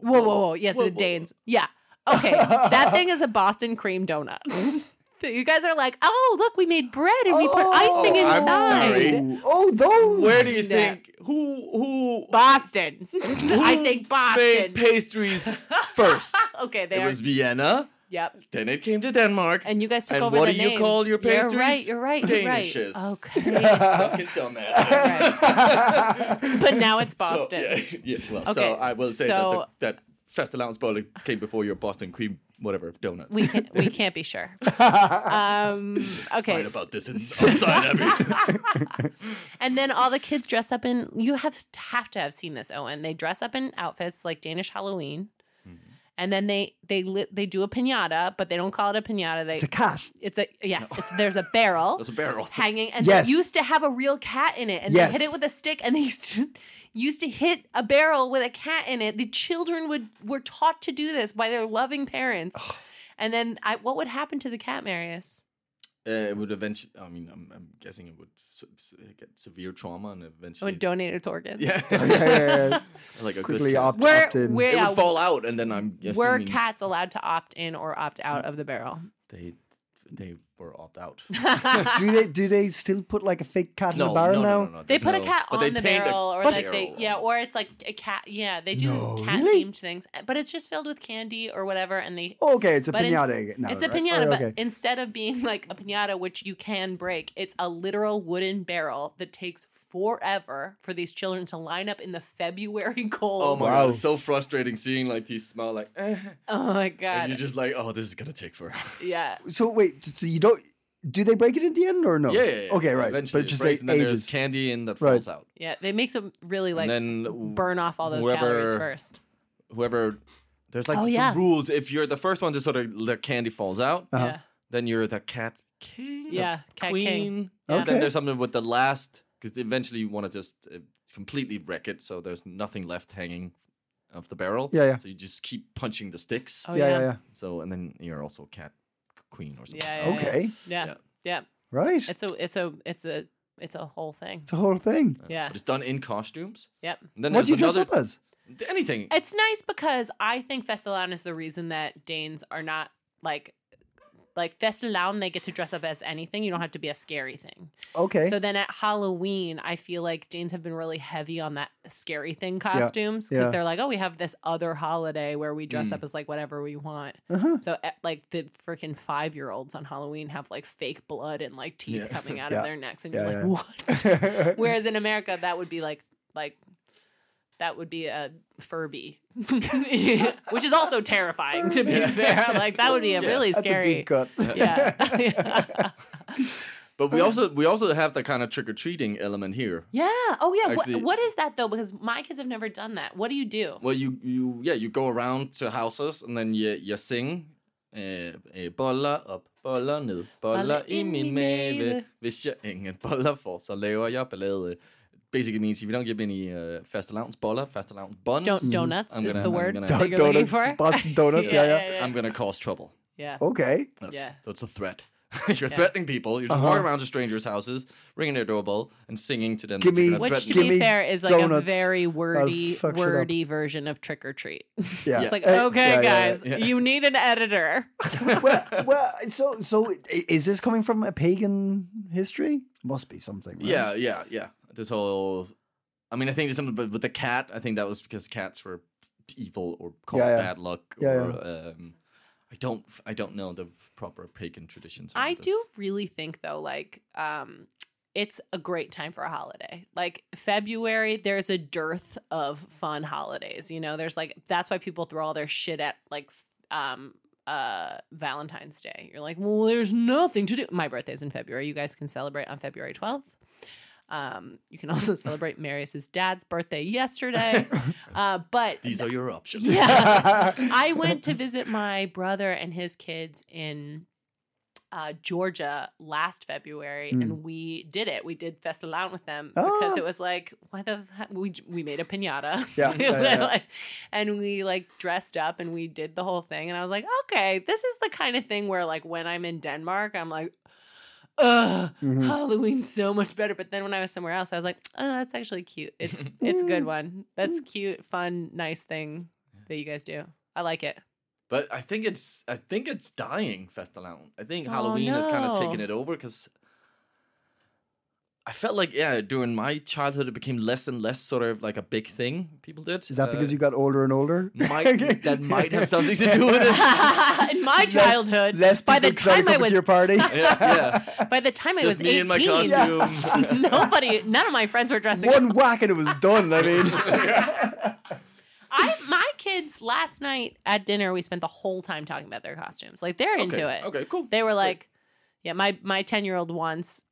C: whoa, whoa! Yes, the Danes. Yeah. Okay, that thing is a Boston cream donut. So you guys are like, oh look, we made bread and we put icing
B: Oh, I'm
C: inside.
B: sorry.
A: Oh, those.
B: Where do you
C: Yeah.
B: think who who?
C: Boston. I
B: who
C: think
B: made
C: Boston.
B: pastries first.
C: okay, they
B: it
C: are.
B: was Vienna.
C: Yep.
B: Then it came to Denmark.
C: And you guys took
B: And
C: over
B: what
C: the
B: do you
C: name.
B: call your
C: You're right.
B: pastries?
C: You're right. You're right.
B: Danishes.
C: Okay.
B: Fucking dumbasses.
C: but now it's
B: So,
C: Boston.
B: yeah, yeah, well,
C: Okay,
B: so I will say
C: so-
B: that the, that fast allowance bowling came before your Boston cream whatever donut.
C: We can't. We can't be sure. Um, okay.
B: Fight about this in outside Abby.
C: And then all the kids dress up in. You have have to have seen this, Owen. They dress up in outfits like Danish Halloween,
B: Mm-hmm.
C: and then they they li- they do a pinata, but they don't call it a pinata. They
A: It's a cat.
C: it's a yes. It's there's a barrel.
B: That's a barrel.
C: hanging and
A: Yes.
C: they used to have a real cat in it and
A: Yes.
C: they hit it with a stick and they used to used to hit a barrel with a cat in it the children would were taught to do this by their loving parents and then I, what would happen to the cat marius
B: Uh, it would eventually. I mean, I'm, I'm guessing it would se- se- get severe trauma and
C: it
B: eventually.
C: would donate its organs
B: yeah.
A: Yeah.
B: like a
A: Quickly
B: good cat.
A: opt,
C: we're,
A: opt in.
C: we're,
B: It
C: yeah,
B: would fall out, and then I'm guessing
C: were cats allowed to opt in or opt out of the barrel
B: they they were opt out.
A: do they do they still put like a fake cat in
B: no,
A: the barrel
B: no,
A: now?
B: no, no, no,
C: they put a
B: no.
C: cat
B: But
C: on
B: they
C: the
B: paint a
C: barrel or
B: What?
C: like they
B: barrel.
C: yeah or it's like a cat yeah they do
A: No,
C: cat
A: really?
C: themed things but it's just filled with candy or whatever and they
A: Okay, it's a
C: But
A: pinata.
C: It's,
A: now,
C: it's a
A: right?
C: pinata,
A: Oh,
C: but
A: okay.
C: instead of being like a pinata, which you can break, it's a literal wooden barrel that takes forever for these children to line up in the February cold.
B: Oh my
A: Wow.
B: god, it's so frustrating seeing like these smell like, eh,
C: Oh my
B: and
C: god!
B: you're just like, oh, this is gonna take forever.
C: yeah,
A: So wait, so you don't? Do they break it in the end or no?
B: Yeah, yeah, yeah.
A: Oh. Okay, right.
B: Eventually,
A: but it just
B: breaks,
A: like
B: and then there's
A: ages.
B: candy in that
A: Right.
B: falls out.
C: yeah. They make them really like
B: and then
C: burn off all those calories
B: whoever-
C: first.
B: whoever there's like
C: Oh,
B: some
C: yeah.
B: rules. If you're the first one to sort of the candy falls out,
A: Uh-huh.
C: Yeah,
B: then you're the cat king. or
C: Yeah, cat
B: queen.
C: king.
B: And
A: Okay.
B: Then there's something with the last because eventually you want to just uh, completely wreck it, so there's nothing left hanging of the barrel.
A: Yeah, yeah.
B: So you just keep punching the sticks.
C: Oh,
A: yeah,
C: yeah.
A: yeah, yeah.
B: So and then you're also cat queen or something.
C: Yeah, yeah,
A: Okay,
C: yeah, yeah,
B: Yeah.
A: right.
C: It's a, it's a, it's a, it's a whole thing.
A: It's a whole thing.
C: Yeah.
B: But it's done in costumes.
C: Yep.
B: And then
A: What do you
B: there's
A: dress up
B: another-
A: as?
B: Anything.
C: It's nice because I think Festilaun is the reason that Danes are not like like Festilaun they get to dress up as anything. You don't have to be a scary thing.
A: Okay.
C: So then at Halloween, I feel like Danes have been really heavy on that scary thing costumes because
A: Yeah.
C: they're like, oh, we have this other holiday where we dress
B: Mm.
C: up as like whatever we want.
A: uh-huh.
C: So eh, like the freaking five year olds on Halloween have like fake blood and like teeth
B: Yeah.
C: coming out
A: Yeah.
C: of their necks, and
A: Yeah,
C: you're like, what? Whereas in America, that would be like like That would be a Furby, which is also terrifying to be fair. Like that would be a really
A: That's
C: scary.
A: a deep cut.
C: Yeah.
B: But we also we also have that kind of trick or treating element here.
C: yeah. Oh yeah. What-
B: Actually-
C: what is that though? Because my kids have never done that. What do you do?
B: Well, you you yeah you go around to houses and then you you sing. Uh, uh, boller op, boller ned, boller i min mave. Hvis jeg ingen boller får, så laver jeg ballade. Basically means if you don't give any uh, fastelavns boller, fastelavns buns.
C: Don't, donuts
B: I'm
C: is
B: gonna-
C: the
B: I'm
C: word
B: gonna-
C: that you're looking
A: donuts,
C: for.
A: Boston donuts. Mm. yeah, yeah.
B: I'm gonna cause trouble.
C: Yeah.
A: Okay.
B: That's,
C: Yeah.
B: that's a threat. You're threatening people. You're just
A: Uh-huh.
B: walking around to strangers' houses, ringing their doorbell, and singing to them.
A: Give
B: that you're
A: me-
B: gonna
C: Which, to
B: threaten
A: Give
B: them.
C: be
A: me
C: fair, is like a
A: donuts.
C: very wordy,
A: fuck shit up.
C: wordy version of trick or treat.
A: Yeah.
C: It's like,
A: Eh,
C: okay,
A: yeah, yeah,
C: guys, you need an editor.
A: yeah. well, well, so so i- is this coming from a pagan history? Must be something. Right?
B: Yeah, yeah, yeah. This whole. I mean, I think there's something but with the cat. I think that was because cats were evil or caused
A: Yeah, yeah.
B: bad luck.
A: Yeah,
B: or, Um, I don't. I don't know the proper pagan traditions. around
C: I
B: this.
C: do really think though, like, um, it's a great time for a holiday. Like February, there's a dearth of fun holidays. You know, there's like that's why people throw all their shit at like f- um uh Valentine's Day. You're like, well, there's nothing to do. My birthday's in February. You guys can celebrate on February 12th. Um, you can also celebrate Marius's dad's birthday yesterday. Uh, but
B: These are your options.
C: yeah. I went to visit my brother and his kids in uh, Georgia last February,
A: Mm.
C: and we did it. We did Festalown with them because
A: Ah.
C: it was like, why the f- we j- we made a pinata,
A: Yeah, yeah, yeah, yeah.
C: and we like dressed up and we did the whole thing. And I was like, okay, this is the kind of thing where like when I'm in Denmark, I'm like. Ugh,
A: Hmm. Mm-hmm.
C: Halloween's so much better. But then when I was somewhere else, I was like, "Oh, that's actually cute. It's it's a good one. That's cute, fun, nice thing that you guys do. I like it.
B: But I think it's. I think it's dying. Festaland. I think
C: Oh,
B: Halloween has kind of
C: no.
B: taken it over because. I felt like yeah, during my childhood it became less and less sort of like a big thing people did.
A: Is that because you got older and older?
B: Uh, might that might have something to do with it?
C: in my
A: Less-
C: childhood,
A: Less
C: by the
A: people try to
C: time I
A: come to
C: was
A: your party.
B: yeah, yeah.
C: by the time I was
B: Just me in my
C: eighteen,
B: costume.
C: nobody, none of my friends were dressing up.
A: One whack and it was done. I mean,
C: I, my kids last night at dinner, we spent the whole time talking about their costumes. Like they're into
B: okay.
C: it.
B: Okay, cool.
C: They were like, yeah, my my 10-year-old once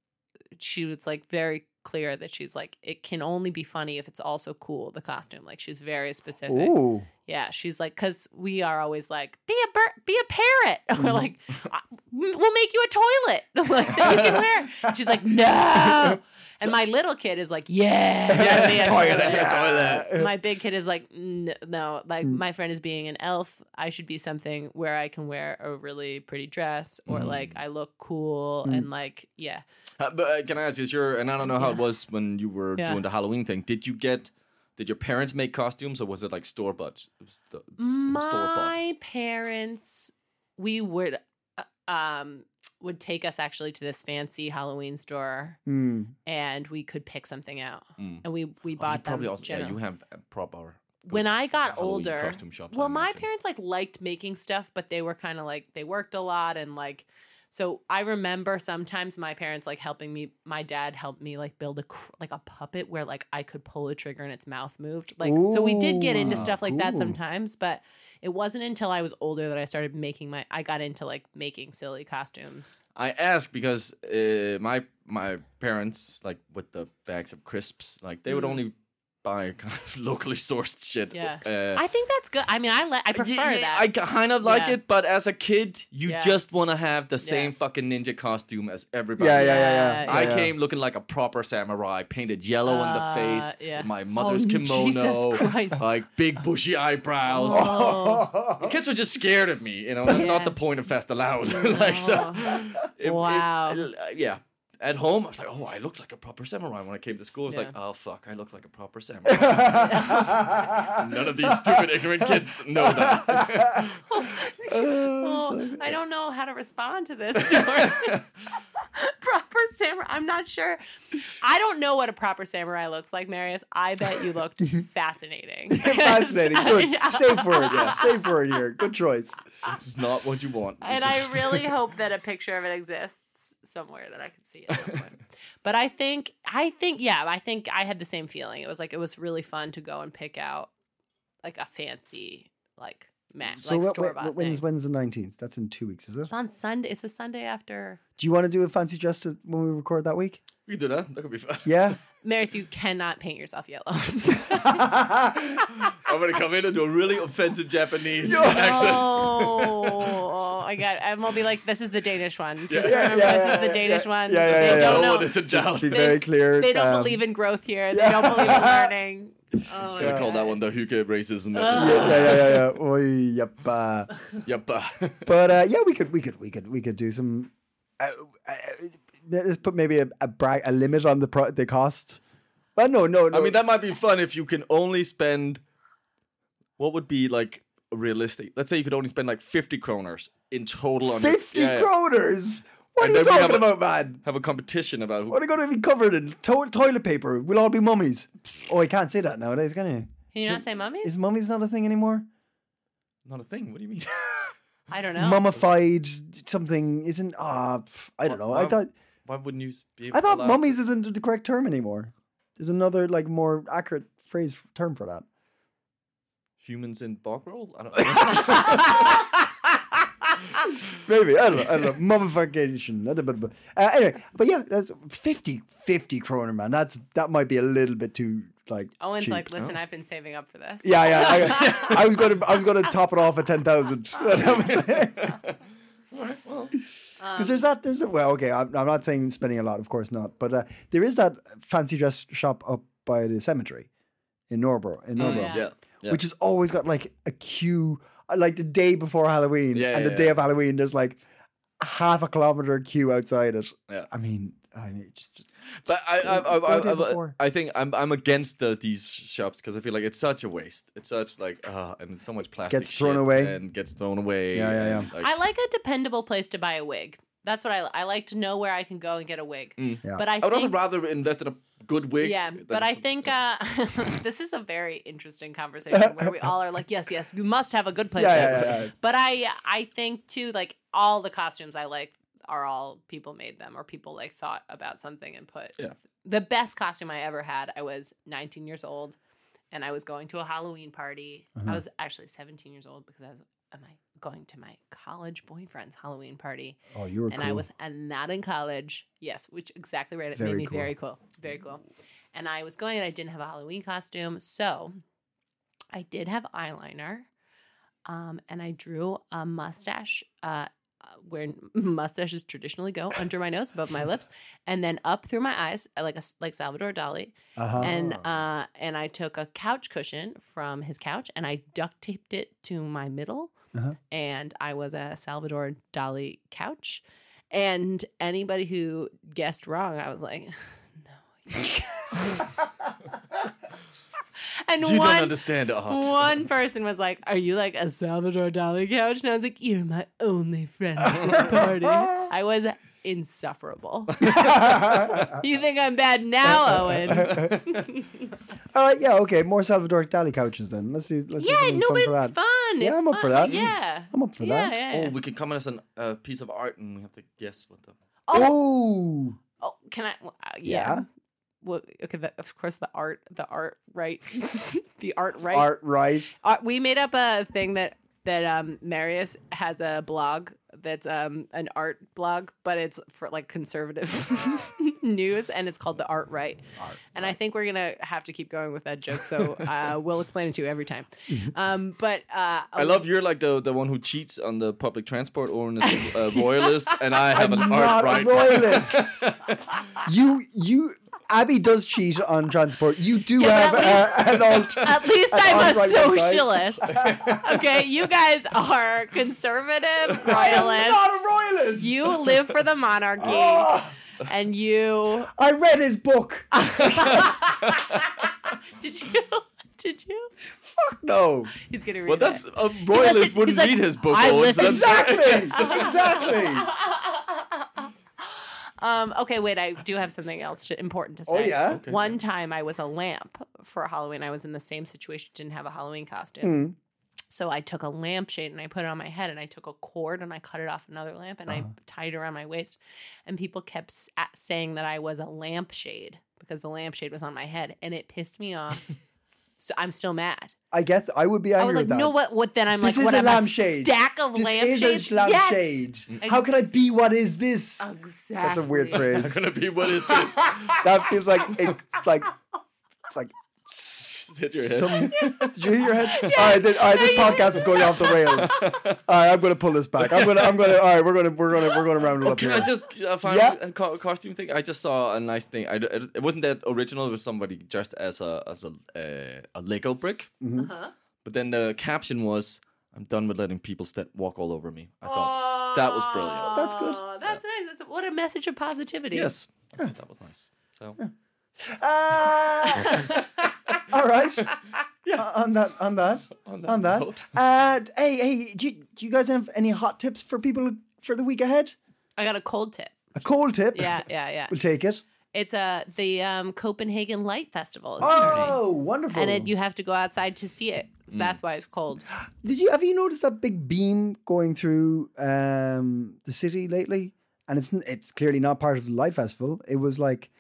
C: she was like very clear that she's like it can only be funny if it's also cool the costume. Like she's very specific.
A: ooh,
C: Yeah, she's like cuz we are always like be a bird, be a parrot. We're like
B: Mm-hmm.
C: "I- we'll make you a toilet. like that you can wear. it." She's like no. And my little kid is like yeah,
B: Yeah,
C: be a
B: toilet,
C: toilet."
B: yeah, toilet.
C: my big kid is like "N- no like
B: Mm.
C: my friend is being an elf i should be something where i can wear a really pretty dress or
B: Mm.
C: like i look cool and like yeah
B: Uh, but uh, can I ask? Is your and I don't know how it was when you were
C: Yeah.
B: doing the Halloween thing. Did you get? Did your parents make costumes, or was it like store bought? Store
C: my
B: bought.
C: parents we would uh, um would take us actually to this fancy halloween store
A: Hmm.
C: and we we could pick something out
B: Mm.
C: and we we bought them
B: probably also. Yeah,
C: generally.
B: you have a proper. good
C: when I got
B: Halloween
C: older,
B: costume shops, I
C: well, my
B: imagine.
C: parents like liked making stuff, but they were kind of like they worked a lot and like. So I remember sometimes my parents like helping me. My dad helped me like build a cr- like a puppet where like I could pull a trigger and its mouth moved. Like so we did get into
A: Ooh,
C: stuff like that
A: cool.
C: sometimes, but it wasn't until I was older that I started making my. I got into like making silly costumes.
B: I ask because uh, my my parents like with the bags of crisps, like they would
C: Mm.
B: only buy kind of locally sourced shit.
C: Yeah.
B: Uh,
C: I think that's good. I mean, I like I prefer
B: Yeah, yeah,
C: that.
B: I kind of like
C: Yeah.
B: it, but as a kid, you
C: Yeah.
B: just want to have the
C: Yeah.
B: same fucking ninja costume as everybody.
A: yeah, yeah,
B: else.
A: yeah, yeah.
C: Yeah,
B: I
A: yeah.
B: came looking like a proper samurai, painted yellow on the
C: Uh,
B: face,
C: yeah.
B: with my mother's
C: Oh,
B: kimono,
C: Jesus Christ.
B: like big bushy eyebrows.
C: Oh.
B: The Kids were just scared of me, you know. That's not
C: Yeah.
B: the point of Fast Allowed. like, so, it- it-
C: Wow.
B: uh, yeah. At home, I was like, "Oh, I looked like a proper samurai." When I came to school, I was like,
C: Yeah.
B: "Oh fuck, I look like a proper samurai." None of these stupid ignorant kids know that.
C: Oh, I don't know how to respond to this. Stuart. proper samurai. I'm not sure. I don't know what a proper samurai looks like, Marius. I bet you looked fascinating.
A: Fascinating. Good.
C: Yeah.
A: Safe word. Yeah. Safe word here. Good choice.
B: this is not what you want. You
C: And I
B: just-
C: really hope that a picture of it exists somewhere that I could see at some point. but I think I think yeah, I think I had the same feeling. It was like it was really fun to go and pick out like a fancy like mat
A: So
C: like
A: what,
C: store
A: what,
C: bought
A: what,
C: thing.
A: when's when's the nineteenth? That's in two weeks, is it?
C: It's on Sunday. It's a Sunday after
A: Do you want to do a fancy dress to, when we record that week?
B: We can do that. That could be fun.
A: Yeah.
C: Maris. You cannot paint yourself yellow.
B: I'm gonna come in and do a really offensive Japanese
A: Yo.
B: accent.
C: Oh, I got. I'm gonna be like, this is the Danish one. Just
B: Yeah,
C: remember,
A: yeah,
C: this
A: yeah,
C: is the
A: yeah,
C: Danish
A: yeah.
C: one.
A: Yeah, yeah,
C: they don't
A: yeah, yeah.
B: no
C: know.
B: one is a
A: Just
B: child.
A: be
B: We're
A: very clear.
C: They don't
A: um,
C: believe in growth here. They
A: yeah.
C: don't believe in learning. Oh, my
B: gonna call that
C: God.
B: one the Huke racism.
A: Yeah,
B: episode.
A: yeah, yeah, yeah. yeah. Oi, yep. uh,
B: Yep. uh,
A: but uh, yeah, we could, we could, we could, we could do some. Uh, uh, let's put maybe a a, bra- a limit on the pro- the cost. But no, no, no.
B: I mean, that might be fun if you can only spend. What would be like realistic? Let's say you could only spend like 50 kroners in total on your-
A: fifty
B: Yeah, yeah.
A: kroners. What
B: And
A: are you
B: then we have
A: talking
B: a-
A: about, man?
B: Have a competition about who.
A: What are going to be covered in to- toilet paper? We'll all be mummies. Oh, I can't say that nowadays, can you?
C: Can you not say mummies?
A: Is mummies not a thing anymore?
B: Not a thing. What do you mean?
C: I don't know.
A: Mummified something isn't. Ah, pff, I don't
B: Wha-
A: know. I
B: why-
A: thought
B: Why wouldn't you? Be
A: I thought
B: allowed-
A: mummies isn't the correct term anymore. There's another like more accurate phrase term for that.
B: humans in bog roll. I don't. know.
A: Maybe I don't know. I don't know. Mummification. I don't- but- but- Uh, anyway, but yeah, that's 50, 50 kroner, man. That's that might be a little bit too like.
C: Owen's
A: cheap. Oh.
C: like, listen, I've been saving up for this.
A: Yeah, yeah. I, I was gonna, I was gonna top it off at ten thousand.
C: Um,
A: Because there's that, there's a, well, okay. I'm, I'm not saying spending a lot, of course not, but uh, there is that fancy dress shop up by the cemetery in Norborough, in
C: Oh,
A: Norborough,
C: yeah.
B: yeah. Yeah.
A: which has always got like a queue, uh, like the day before Halloween
B: Yeah,
A: and
B: yeah,
A: the day
B: yeah.
A: of Halloween. There's like half a kilometer queue outside it.
B: Yeah.
A: I mean, I mean, just, just
B: But I, I, I,
A: Go
B: I,
A: there
B: I-
A: before.
B: uh, I think I'm, I'm against the, these shops because I feel like it's such a waste. It's such like, uh, and it's so much plastic
A: Gets thrown
B: shit
A: away.
B: and gets thrown away.
A: Yeah, yeah,
B: and, like-
C: I like a dependable place to buy a wig. That's what I I like to know where I can go and get a wig.
B: Mm.
A: Yeah.
C: But I,
B: I would also
C: think-
B: rather invest in a good wig.
C: Yeah,
B: than
C: but I
B: some-
C: think uh, this is a very interesting conversation where we all are like, yes, yes, you must have a good place.
A: Yeah,
C: to
A: yeah,
C: live."
A: yeah, yeah.
C: But I, I think too, like all the costumes I like are all people made them or people like thought about something and put.
B: Yeah.
C: The best costume I ever had, I was 19 years old, and I was going to a Halloween party.
A: Uh-huh.
C: I was actually 17 years old because I was. Am I going to my college boyfriend's Halloween party?
A: oh, you were
C: and
A: cool.
C: I was and not in college. Yes, which exactly right. It
A: Very
C: made me
A: cool.
C: very cool, very cool. And I was going, and I didn't have a Halloween costume, so I did have eyeliner, um, and I drew a mustache. Uh, uh, where mustaches traditionally go under my nose, above my lips, and then up through my eyes, uh, like a s- like Salvador Dali,
A: uh-huh.
C: and uh, and I took a couch cushion from his couch and I duct taped it to my middle,
A: Uh-huh.
C: and I was a Salvador Dali couch. And anybody who guessed wrong, I was like, no. and one
B: you don't understand uh, art.
C: one person was like, "Are you like a Salvador Dali couch?" And I was like, "You're my only friend at this party." I was insufferable. you think I'm bad now, Owen?
A: All right, yeah, okay. More Salvador Dali couches then. Let's do. Let's do
C: Yeah,
A: something
C: no,
A: fun
C: but
A: for
C: it's
A: that.
C: fun.
A: Yeah,
C: It's
A: I'm up for
C: fun.
A: that.
C: Yeah,
A: I'm up for
C: yeah,
A: that.
C: Yeah,
B: Oh,
C: yeah.
B: we can come in as a uh, piece of art and we have to guess what the.
A: Oh,
C: Oh, can I? well, uh, yeah.
A: Yeah.
C: Well, okay. The, of course, the art, the art, right? the art, right?
A: art right.
C: Uh, we made up a thing that that um, Marius has a blog that's um, an art blog, but it's for like conservative news, and it's called the Art Right. and I think we're gonna have to keep going with that joke, so uh, we'll explain it to you every time.
A: Mm-hmm.
C: Um, but uh,
B: I love you're like the the one who cheats on the public transport or in a royalist, and I have
A: I'm
B: an
A: not
B: art
A: a
B: right.
A: royalist. you, you, Abby does cheat on transport. You do
C: Yeah, but at
A: have a, an alt.
C: At least
A: An
C: I'm a
A: outright website.
C: socialist. okay, you guys are conservative
A: I am
C: royalists.
A: not a royalist. Ah,
C: You live for the monarchy, and you
A: I read his book.
C: did you did you?
A: No,
C: He's gonna read
B: Well, that's
C: it.
B: a royalist
C: Listen,
B: wouldn't
C: he's
B: read
C: like,
B: his book.
C: I
B: Owen, so
C: listened-
B: that's-
A: exactly, exactly.
C: Um, okay, wait, I do have something else to, important to say.
A: Oh, yeah? Okay,
C: One
A: Hmm.
C: time I was a lamp for Halloween. I was in the same situation, didn't have a Halloween costume. So I took a lampshade and I put it on my head, and I took a cord and I cut it off another lamp and
A: Uh-huh.
C: I tied it around my waist. And people kept s- at- saying that I was a lampshade because the lampshade was on my head, and it pissed me off. so I'm still mad.
A: I get. I would be angry
C: I was like,
A: with that.
C: no, what? What then? I'm
A: This
C: like,
A: is
C: what?
A: a
C: am
A: lampshade.
C: stack of
A: This
C: lampshades.
A: is a
C: Yes!
A: lampshade. How can I be what is this?
C: Exactly.
A: That's a weird
B: Not
A: phrase.
B: gonna be what is this?
A: that feels like it, like it's like
B: Hit your head.
A: some. Did you hear your head? All right, this, all right, this podcast is going off the rails. All right, I'm gonna pull this back. I'm gonna, I'm gonna. All right, we're gonna, we're gonna, we're gonna round it up
B: Can
A: here.
B: I just uh, find
A: Yeah.
B: a co- costume thing? I just saw a nice thing. I, d- it it wasn't that original. It was somebody dressed as a as a uh, a Lego brick.
A: Mhm.
B: But then the caption was, "I'm done with letting people step walk all over me." I thought that was brilliant.
A: That's good.
C: Aw, That's nice. That's, what a message of positivity.
B: Yes, I thought that was nice. So
A: Uh, all right. Uh, on that, on that,
B: On
A: on
B: that
A: that.
B: note.
A: Uh, hey, hey, do you, do you guys have any hot tips for people for the week ahead?
C: I got a cold tip.
A: A cold tip.
C: Yeah, yeah, yeah.
A: We'll take it.
C: It's uh, the um, Copenhagen Light Festival is starting,
A: Oh, wonderful!
C: and it, you have to go outside to see it.
A: Mm.
C: So That's why it's cold.
A: Did you have you noticed that big beam going through um, the city lately? And it's it's clearly not part of the light festival. It was like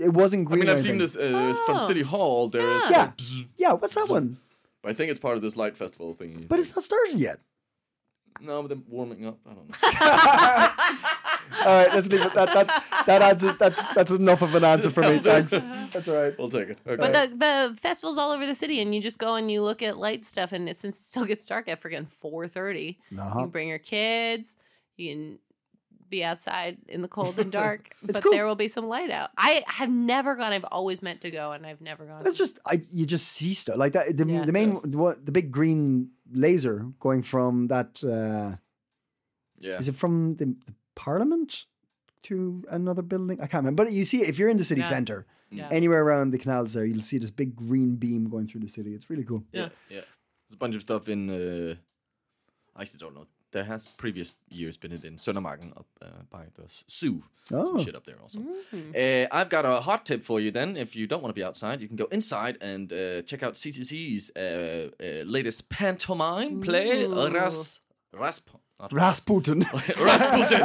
A: it wasn't
B: I
A: green.
B: mean,
A: or
B: I've seen
A: anything.
B: this uh, from City Hall. There is,
A: Yeah.
B: a bzzz,
A: Yeah, what's that one?
B: but I think it's part of this light festival thing.
A: But it's not started yet.
B: no, but then warming up. I don't know.
A: All right, let's leave it. That that that answer, that's that's enough of an answer for me. Thanks. That's all right.
B: we'll take it. Okay.
C: But the, the festival's all over the city, and you just go and you look at light stuff, and it, since it still gets dark at freaking four thirty, you
A: Uh-huh.
C: can bring your kids. You can be outside in the cold and dark, but
A: cool.
C: there will be some light out. I have never gone. I've always meant to go, and I've never gone.
A: It's just I you just see stuff like that. The,
C: Yeah.
A: the main the, one- the big green laser going from that uh,
B: yeah,
A: is it from the, the Parliament to another building? I can't remember. But you see, if you're in the city
C: Yeah.
A: centre,
C: Yeah.
A: anywhere around the canals there, you'll see this big green beam going through the city. It's really cool.
B: yeah, yeah. There's a bunch of stuff in. Uh, I still don't know. There has previous years been it in Søndermarken up uh, by the s- zoo. Some
A: Oh.
B: shit up there also. Uh, I've got a hot tip for you then. If you don't want to be outside, you can go inside and uh, check out CTC's uh, uh, latest pantomime play, Ras Rasp. not
A: Rasputin.
B: Rasputin.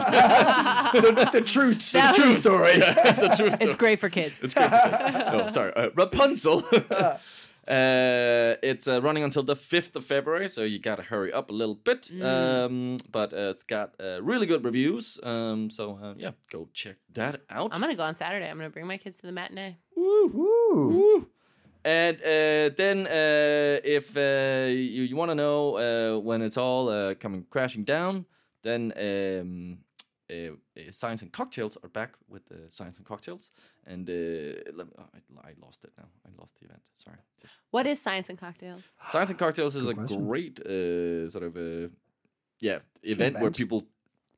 A: the, the true, the true story.
B: it's a true story.
C: it's great for kids.
B: It's great. no, sorry. Uh, Rapunzel. uh, it's uh, running until the 5th of February, so you gotta hurry up a little bit. Um, but uh, it's got uh, really good reviews. Um, so uh, yeah, go check that out.
C: I'm gonna go on Saturday. I'm gonna bring my kids to the matinee.
A: Ooh.
B: Woo. And uh, then, uh, if uh, you, you want to know uh, when it's all uh, coming crashing down, then um, uh, uh, Science and Cocktails are back with uh, Science and Cocktails. And uh, let me, oh, I, I lost it now. I lost the event. Sorry. Just-
C: What is science and cocktails?
B: Science and Cocktails is
A: Good
B: a
A: question.
B: great uh, sort of uh, yeah event, where
A: event.
B: people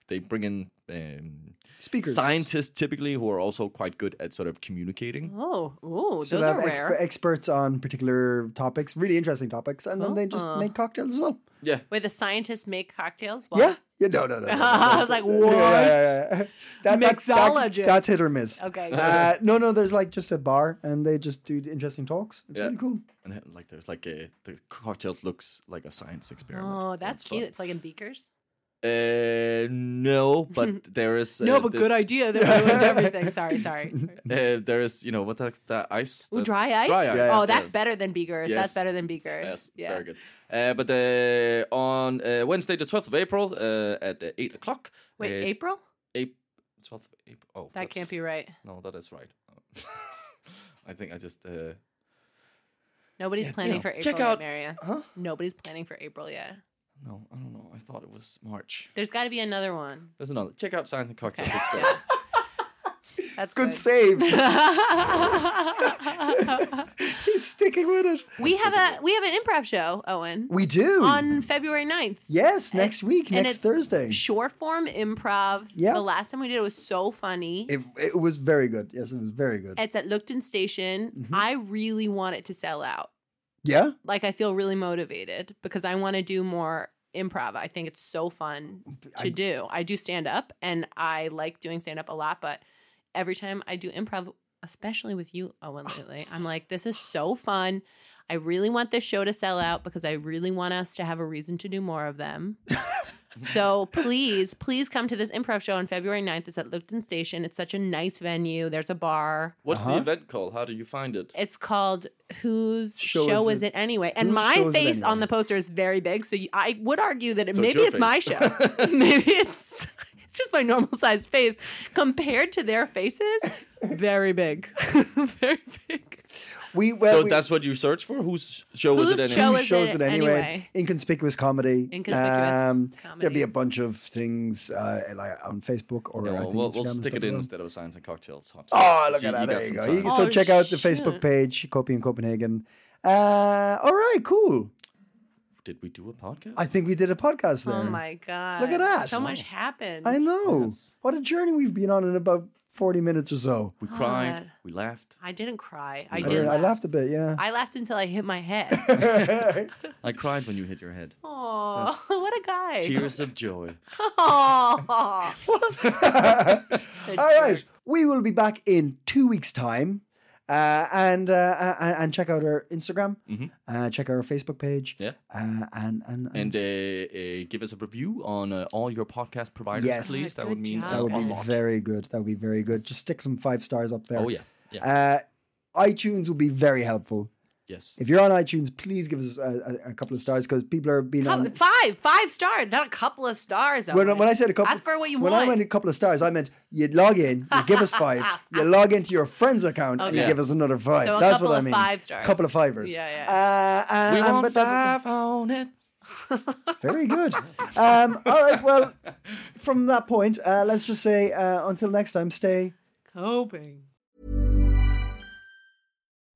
B: they bring in um,
A: Speakers.
B: scientists typically who are also quite good at sort of communicating.
C: Oh, ooh,
A: So
C: those
A: they have
C: are
A: exper-
C: rare.
A: experts on particular topics, really interesting topics, and then they just
C: Uh-huh.
A: make cocktails as well.
B: Yeah,
C: Wait, the scientists make cocktails?
A: Yeah. Yeah, no, no, no. no, no,
C: I
A: no.
C: was like,
A: Yeah, yeah, yeah, yeah. That- that's- that-
C: Mixologist.
A: That's hit or miss.
C: Okay. Oh,
A: Uh, no, no, there's like just a bar and they just do interesting talks. It's
B: Yeah.
A: really cool.
B: and then, like there's like a the cocktails looks like a science experiment.
C: oh,
B: and
C: that's
B: fun.
C: cute. It's like in beakers.
B: Uh, no, but there is uh, the-
C: idea that ruined everything. Sorry, sorry. sorry.
B: Uh, there is you know what the, the ice
C: Ooh,
B: the-
C: dry ice.
B: Dry ice.
A: Yeah,
C: Oh, that's
B: yeah.
C: better than beakers.
B: Yes.
C: That's better than beakers.
B: Yes, it's
C: yeah.
B: very good. Uh, but uh, on uh, Wednesday, the twelfth of April, uh, at uh, eight o'clock.
C: Wait,
B: uh,
C: April?
B: April twelfth. April. Oh,
C: That
B: that's-
C: can't be right.
B: No, that is right. I think I just. Uh,
C: Nobody's planning
B: yeah.
C: for April
B: Check out-
C: yet, Marius. Nobody's planning for April yet.
B: no, I don't know. I thought it was March.
C: There's got to be another one.
B: There's another. Check out Science and Cocktails.
C: Okay.
B: It's
C: Yeah. That's
B: great.
A: Good
C: good.
A: save. He's sticking with it.
C: we have a we have an improv show, Owen,
A: We do.
C: on February 9th.
A: yes, next week,
C: and
A: next
C: it's
A: Thursday.
C: Short form improv.
A: Yeah.
C: The last time we did it was so funny.
A: It, it was very good. Yes, it was very good.
C: it's at Lupton Station.
A: Mm-hmm.
C: I really want it to sell out.
A: yeah?
C: Like I feel really motivated because I want to do more improv. I think it's so fun to
A: I-
C: do. I do stand up and I like doing stand up a lot, but every time I do improv, especially with you, Owen, lately, I'm like, this is so fun. I really want this show to sell out because I really want us to have a reason to do more of them. so please, please come to this improv show on February 9th. It's at Lipton Station. It's such a nice venue. There's a bar.
B: What's
A: Uh-huh. Uh,
B: the event called? How do you find it?
C: It's called Whose
A: Show
C: Show,
A: Is
C: is,
A: It-
C: It Anyway? And
A: Whose Show Is
C: my
A: It
C: face on
A: Anyway?
C: the poster is very big. So you, I would argue that it,
B: So it's
C: maybe
B: your
C: it's my
B: face.
C: show. maybe it's. It's just my normal sized face compared to their faces. Very big, very big.
A: We well,
B: so
A: we,
B: that's what you search for. Whose show was it?
C: Whose
B: Anyway?
C: show
A: who
C: is
A: shows it,
C: it
A: anyway?
C: anyway?
A: Inconspicuous comedy. Um,
C: Inconspicuous
A: There'll be
C: comedy.
A: a bunch of things uh, like on Facebook or
B: Yeah,
A: I
B: well,
A: think
B: we'll,
A: Instagram
B: we'll
A: and
B: stick
A: stuff
B: it
A: as
B: in
A: well.
B: instead of science and cocktails. Hot
A: Oh,
B: sauce.
A: look at that!
B: got
A: There you
B: some
A: go.
B: time.
A: You- so
C: Oh,
A: check out the
C: shit.
A: Facebook page, Copy in Copenhagen. Uh, all right, cool.
B: Did we do a podcast?
A: I think we did a podcast there.
C: Oh my god!
A: Look at that. Oh.
C: So much happened.
A: I know.
B: Yes.
A: What a journey we've been on in about forty minutes or so.
B: we cried.
A: Ah.
C: God.
B: We laughed.
C: I didn't cry. I
B: You
A: I,
C: did.
A: I
C: laugh.
A: laughed a bit, yeah.
C: I laughed until I hit my head.
B: I cried when you hit your head.
C: Aw, what a guy.
B: Tears of joy.
C: Aw.
A: All right, we will be back in two weeks' time, uh, and, uh, and and check out our Instagram,
B: Mhm.
A: uh, check out our Facebook page,
B: Yeah.
A: uh, and and,
B: And uh, uh, give us a review on uh, all your podcast providers,
A: Yes.
B: please.
C: Oh,
B: That would
C: good
B: mean
C: job,
A: that would
B: a
A: be
B: lot.
A: very good. That would be very good. Just stick some five stars up there.
B: Oh yeah, yeah,
A: Uh, iTunes will be very helpful.
B: yes.
A: If you're on iTunes, please give us a, a, a couple of stars because people are being
C: Come-
A: on.
C: five, eh? five stars, not a couple of stars.
A: When, I-
C: Owen.
A: when I said a couple,
C: Ask for what you
A: when I
C: want.
A: went a couple of stars, I meant you log in, you give us five, you log into your friend's account, and you
B: Okay.
A: give us another five.
C: So a
A: That's
C: couple
A: what I
C: of
A: mean.
C: five stars.
A: couple of fivers.
C: Yeah,
A: Uh, uh,
B: we
A: and-
B: want
A: but that-
B: five on it.
A: very good. Um, all right. Well, from that point, uh, let's just say uh, until next time, stay.
C: Coping.